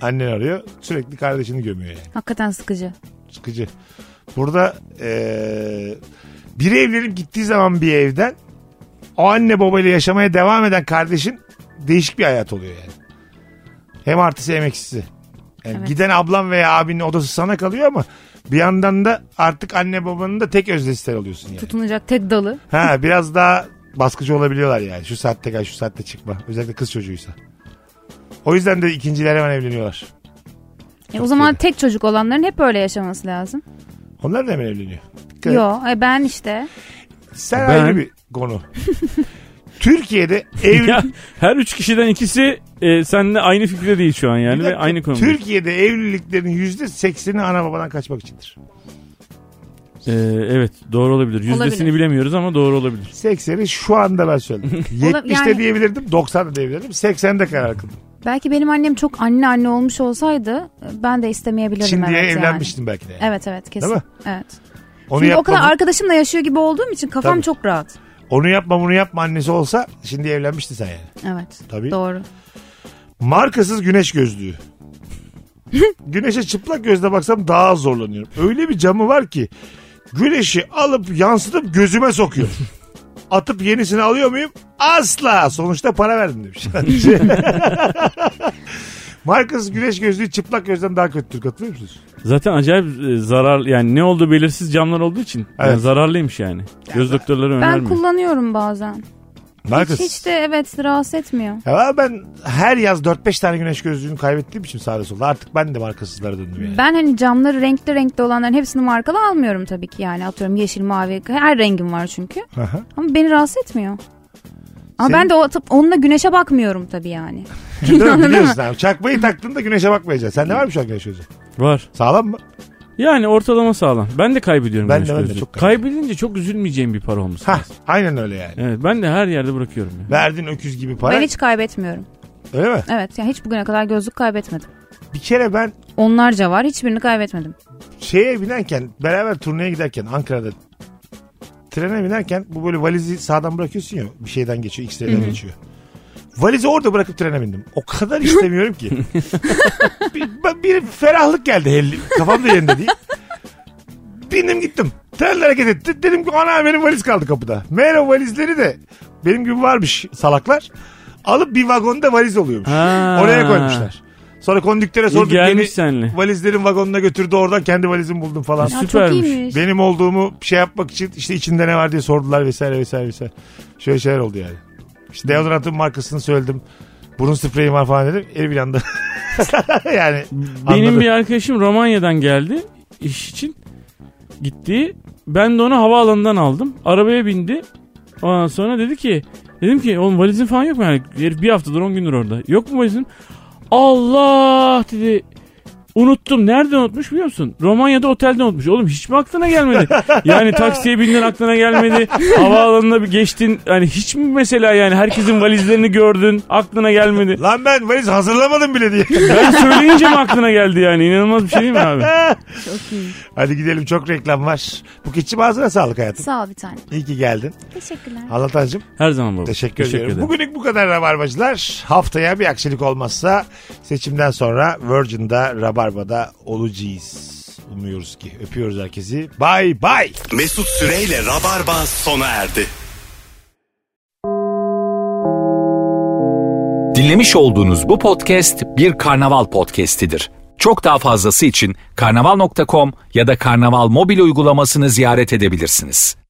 Speaker 3: Annen arıyor sürekli kardeşini gömüyor yani
Speaker 5: Hakikaten sıkıcı.
Speaker 3: sıkıcı. Burada eee biri evlenip gittiği zaman bir evden o anne babayla yaşamaya devam eden kardeşin değişik bir hayat oluyor yani. Hem artısı hem eksisi. Yani
Speaker 5: Evet.
Speaker 3: Giden ablan veya abinin odası sana kalıyor ama bir yandan da artık anne babanın da tek özdesi oluyorsun yani.
Speaker 5: Tutunacak tek dalı.
Speaker 3: Ha biraz daha baskıcı olabiliyorlar yani. Şu saatte gel şu saatte çıkma. Özellikle kız çocuğuysa. O yüzden de ikinciler hemen evleniyorlar.
Speaker 5: E, o zaman tek çocuk olanların hep öyle yaşaması lazım.
Speaker 3: Onlar da hemen evleniyor. Dikkat et.
Speaker 5: Yo e, ben işte.
Speaker 3: Sen
Speaker 4: Ben-
Speaker 3: ayrı bir konu. Türkiye'de ev
Speaker 4: Ya, her üç kişiden ikisi e, seninle aynı fikirde değil şu an
Speaker 3: Bir
Speaker 4: yani ve
Speaker 3: dakika,
Speaker 4: aynı konuda.
Speaker 3: Türkiye'de evliliklerin yüzde sekseni ana babadan kaçmak içindir.
Speaker 4: E, evet doğru olabilir. Yüzdesini
Speaker 5: Olabilir.
Speaker 4: bilemiyoruz ama doğru olabilir.
Speaker 3: Sekseni şu anda ben söyledim. 70'te
Speaker 5: yani-
Speaker 3: diyebilirdim, 90'da diyebilirdim, 80'de karar kıldım.
Speaker 5: Belki benim annem çok anne anne olmuş olsaydı e, ben de istemeyebilirdim.
Speaker 3: Şimdiye
Speaker 5: evet
Speaker 3: evlenmiştim belki de.
Speaker 5: Yani. Evet evet kesin.
Speaker 3: Değil mi?
Speaker 5: Evet.
Speaker 3: Onu
Speaker 5: Çünkü o
Speaker 3: yapma,
Speaker 5: kadar
Speaker 3: bu-
Speaker 5: arkadaşımla yaşıyor gibi olduğum için kafam
Speaker 3: Tabii.
Speaker 5: çok rahat.
Speaker 3: onu yapma, bunu yapma annesi olsa şimdi evlenmişti sen yani.
Speaker 5: Evet.
Speaker 3: Tabii.
Speaker 5: Doğru.
Speaker 3: Markasız güneş gözlüğü. Güneşe çıplak gözle baksam daha az zorlanıyorum. Öyle bir camı var ki güneşi alıp yansıtıp gözüme sokuyor. Atıp yenisini alıyor muyum? Asla. Sonuçta para verdim demiş. Marcus güneş gözlüğü çıplak gözden daha kötüdür katılıyor musunuz?
Speaker 4: Zaten acayip e, zarar yani ne olduğu belirsiz camlar olduğu için yani
Speaker 3: Evet.
Speaker 4: zararlıymış yani. Göz doktorları
Speaker 5: Ben
Speaker 4: önermiyor.
Speaker 5: kullanıyorum bazen.
Speaker 3: Marcus.
Speaker 5: Hiç de evet rahatsız etmiyor.
Speaker 3: Ya ben her yaz 4-5 tane güneş gözlüğünü kaybettiğim için sağda solda artık ben de markasızlara döndüm yani.
Speaker 5: Ben hani camları renkli renkli olanların hepsini markalı almıyorum tabii ki yani atıyorum yeşil mavi her rengim var çünkü.
Speaker 3: Aha.
Speaker 5: Ama beni rahatsız etmiyor. Ama
Speaker 3: Senin-
Speaker 5: ben de o tıp onunla güneşe bakmıyorum tabii yani.
Speaker 3: Değil mi? Biliyorsun abi. Çakmayı taktığında güneşe bakmayacaksın. Sende var mı şu an güneş gözlüğü?
Speaker 4: Var.
Speaker 3: Sağlam mı?
Speaker 4: Yani ortalama sağlam. Ben de kaybediyorum.
Speaker 3: Ben
Speaker 4: güneş
Speaker 3: de, ben de
Speaker 4: gözlüğü.
Speaker 3: çok kaybediyorum.
Speaker 4: Kaybedince çok üzülmeyeceğim bir para olması.
Speaker 3: Hah,
Speaker 4: lazım.
Speaker 3: aynen öyle yani.
Speaker 4: Evet ben de her yerde bırakıyorum. ya.
Speaker 3: Verdin öküz gibi para.
Speaker 5: Ben hiç kaybetmiyorum.
Speaker 3: Öyle mi?
Speaker 5: Evet yani hiç bugüne kadar gözlük kaybetmedim.
Speaker 3: Bir kere ben
Speaker 5: Onlarca var hiçbirini kaybetmedim.
Speaker 3: şeye binerken beraber turneye giderken Ankara'da trene binerken bu böyle valizi sağdan bırakıyorsun ya bir şeyden geçiyor X-ray'den geçiyor. Valizi orada bırakıp trene bindim. O kadar istemiyorum ki. bir, ben- bir ferahlık geldi helli. Kafam da yerinde değil. Bindim gittim. Tren hareket etti. Dedim ki ana benim valiz kaldı kapıda. Meğer o valizleri de benim gibi varmış salaklar. Alıp bir vagonda valiz oluyormuş.
Speaker 4: Ha.
Speaker 3: Oraya koymuşlar. Sonra kondüktöre
Speaker 4: İyi
Speaker 3: sorduk.
Speaker 4: gelmiş
Speaker 3: beni-
Speaker 4: seninle.
Speaker 3: valizlerin vagonuna götürdü oradan kendi valizimi buldum falan.
Speaker 5: Ya
Speaker 4: Süpermiş.
Speaker 5: çok iyiymiş.
Speaker 3: Benim olduğumu şey yapmak için işte içinde ne var diye sordular vesaire vesaire vesaire. Şöyle şeyler oldu yani. İşte deodorantın markasını söyledim. Burun spreyi var falan dedim. El bir anda. yani
Speaker 4: Benim
Speaker 3: anladı.
Speaker 4: bir arkadaşım Romanya'dan geldi iş için. Gitti. Ben de onu havaalanından aldım. Arabaya bindi. Ondan sonra dedi ki dedim ki oğlum valizin falan yok mu? Yani herif bir haftadır 10 gündür orada. Yok mu valizin? Allah dedi. Unuttum. Nerede unutmuş biliyor musun? Romanya'da otelde unutmuş. Oğlum hiç mi aklına gelmedi? Yani taksiye bindin aklına gelmedi. Havaalanına bir geçtin. Hani hiç mi mesela yani herkesin valizlerini gördün. Aklına gelmedi.
Speaker 3: Lan ben valiz hazırlamadım bile diye.
Speaker 4: Ben söyleyince mi aklına geldi yani? İnanılmaz bir şey değil mi abi?
Speaker 3: Hadi gidelim çok reklam var. Bu keçi ağzına sağlık hayatım.
Speaker 5: Sağ ol bir tane.
Speaker 3: İyi ki geldin.
Speaker 5: Teşekkürler.
Speaker 3: Anlatancım
Speaker 4: Her zaman baba.
Speaker 3: Teşekkür, ederim. Bugünlük bu kadar Rabarbacılar. Haftaya bir aksilik olmazsa seçimden sonra Virgin'da Rabarba'da olacağız. Umuyoruz ki. Öpüyoruz herkesi. Bay bay.
Speaker 2: Mesut Süreyle Rabarba sona erdi.
Speaker 1: Dinlemiş olduğunuz bu podcast bir karnaval podcastidir. Çok daha fazlası için karnaval.com ya da karnaval mobil uygulamasını ziyaret edebilirsiniz.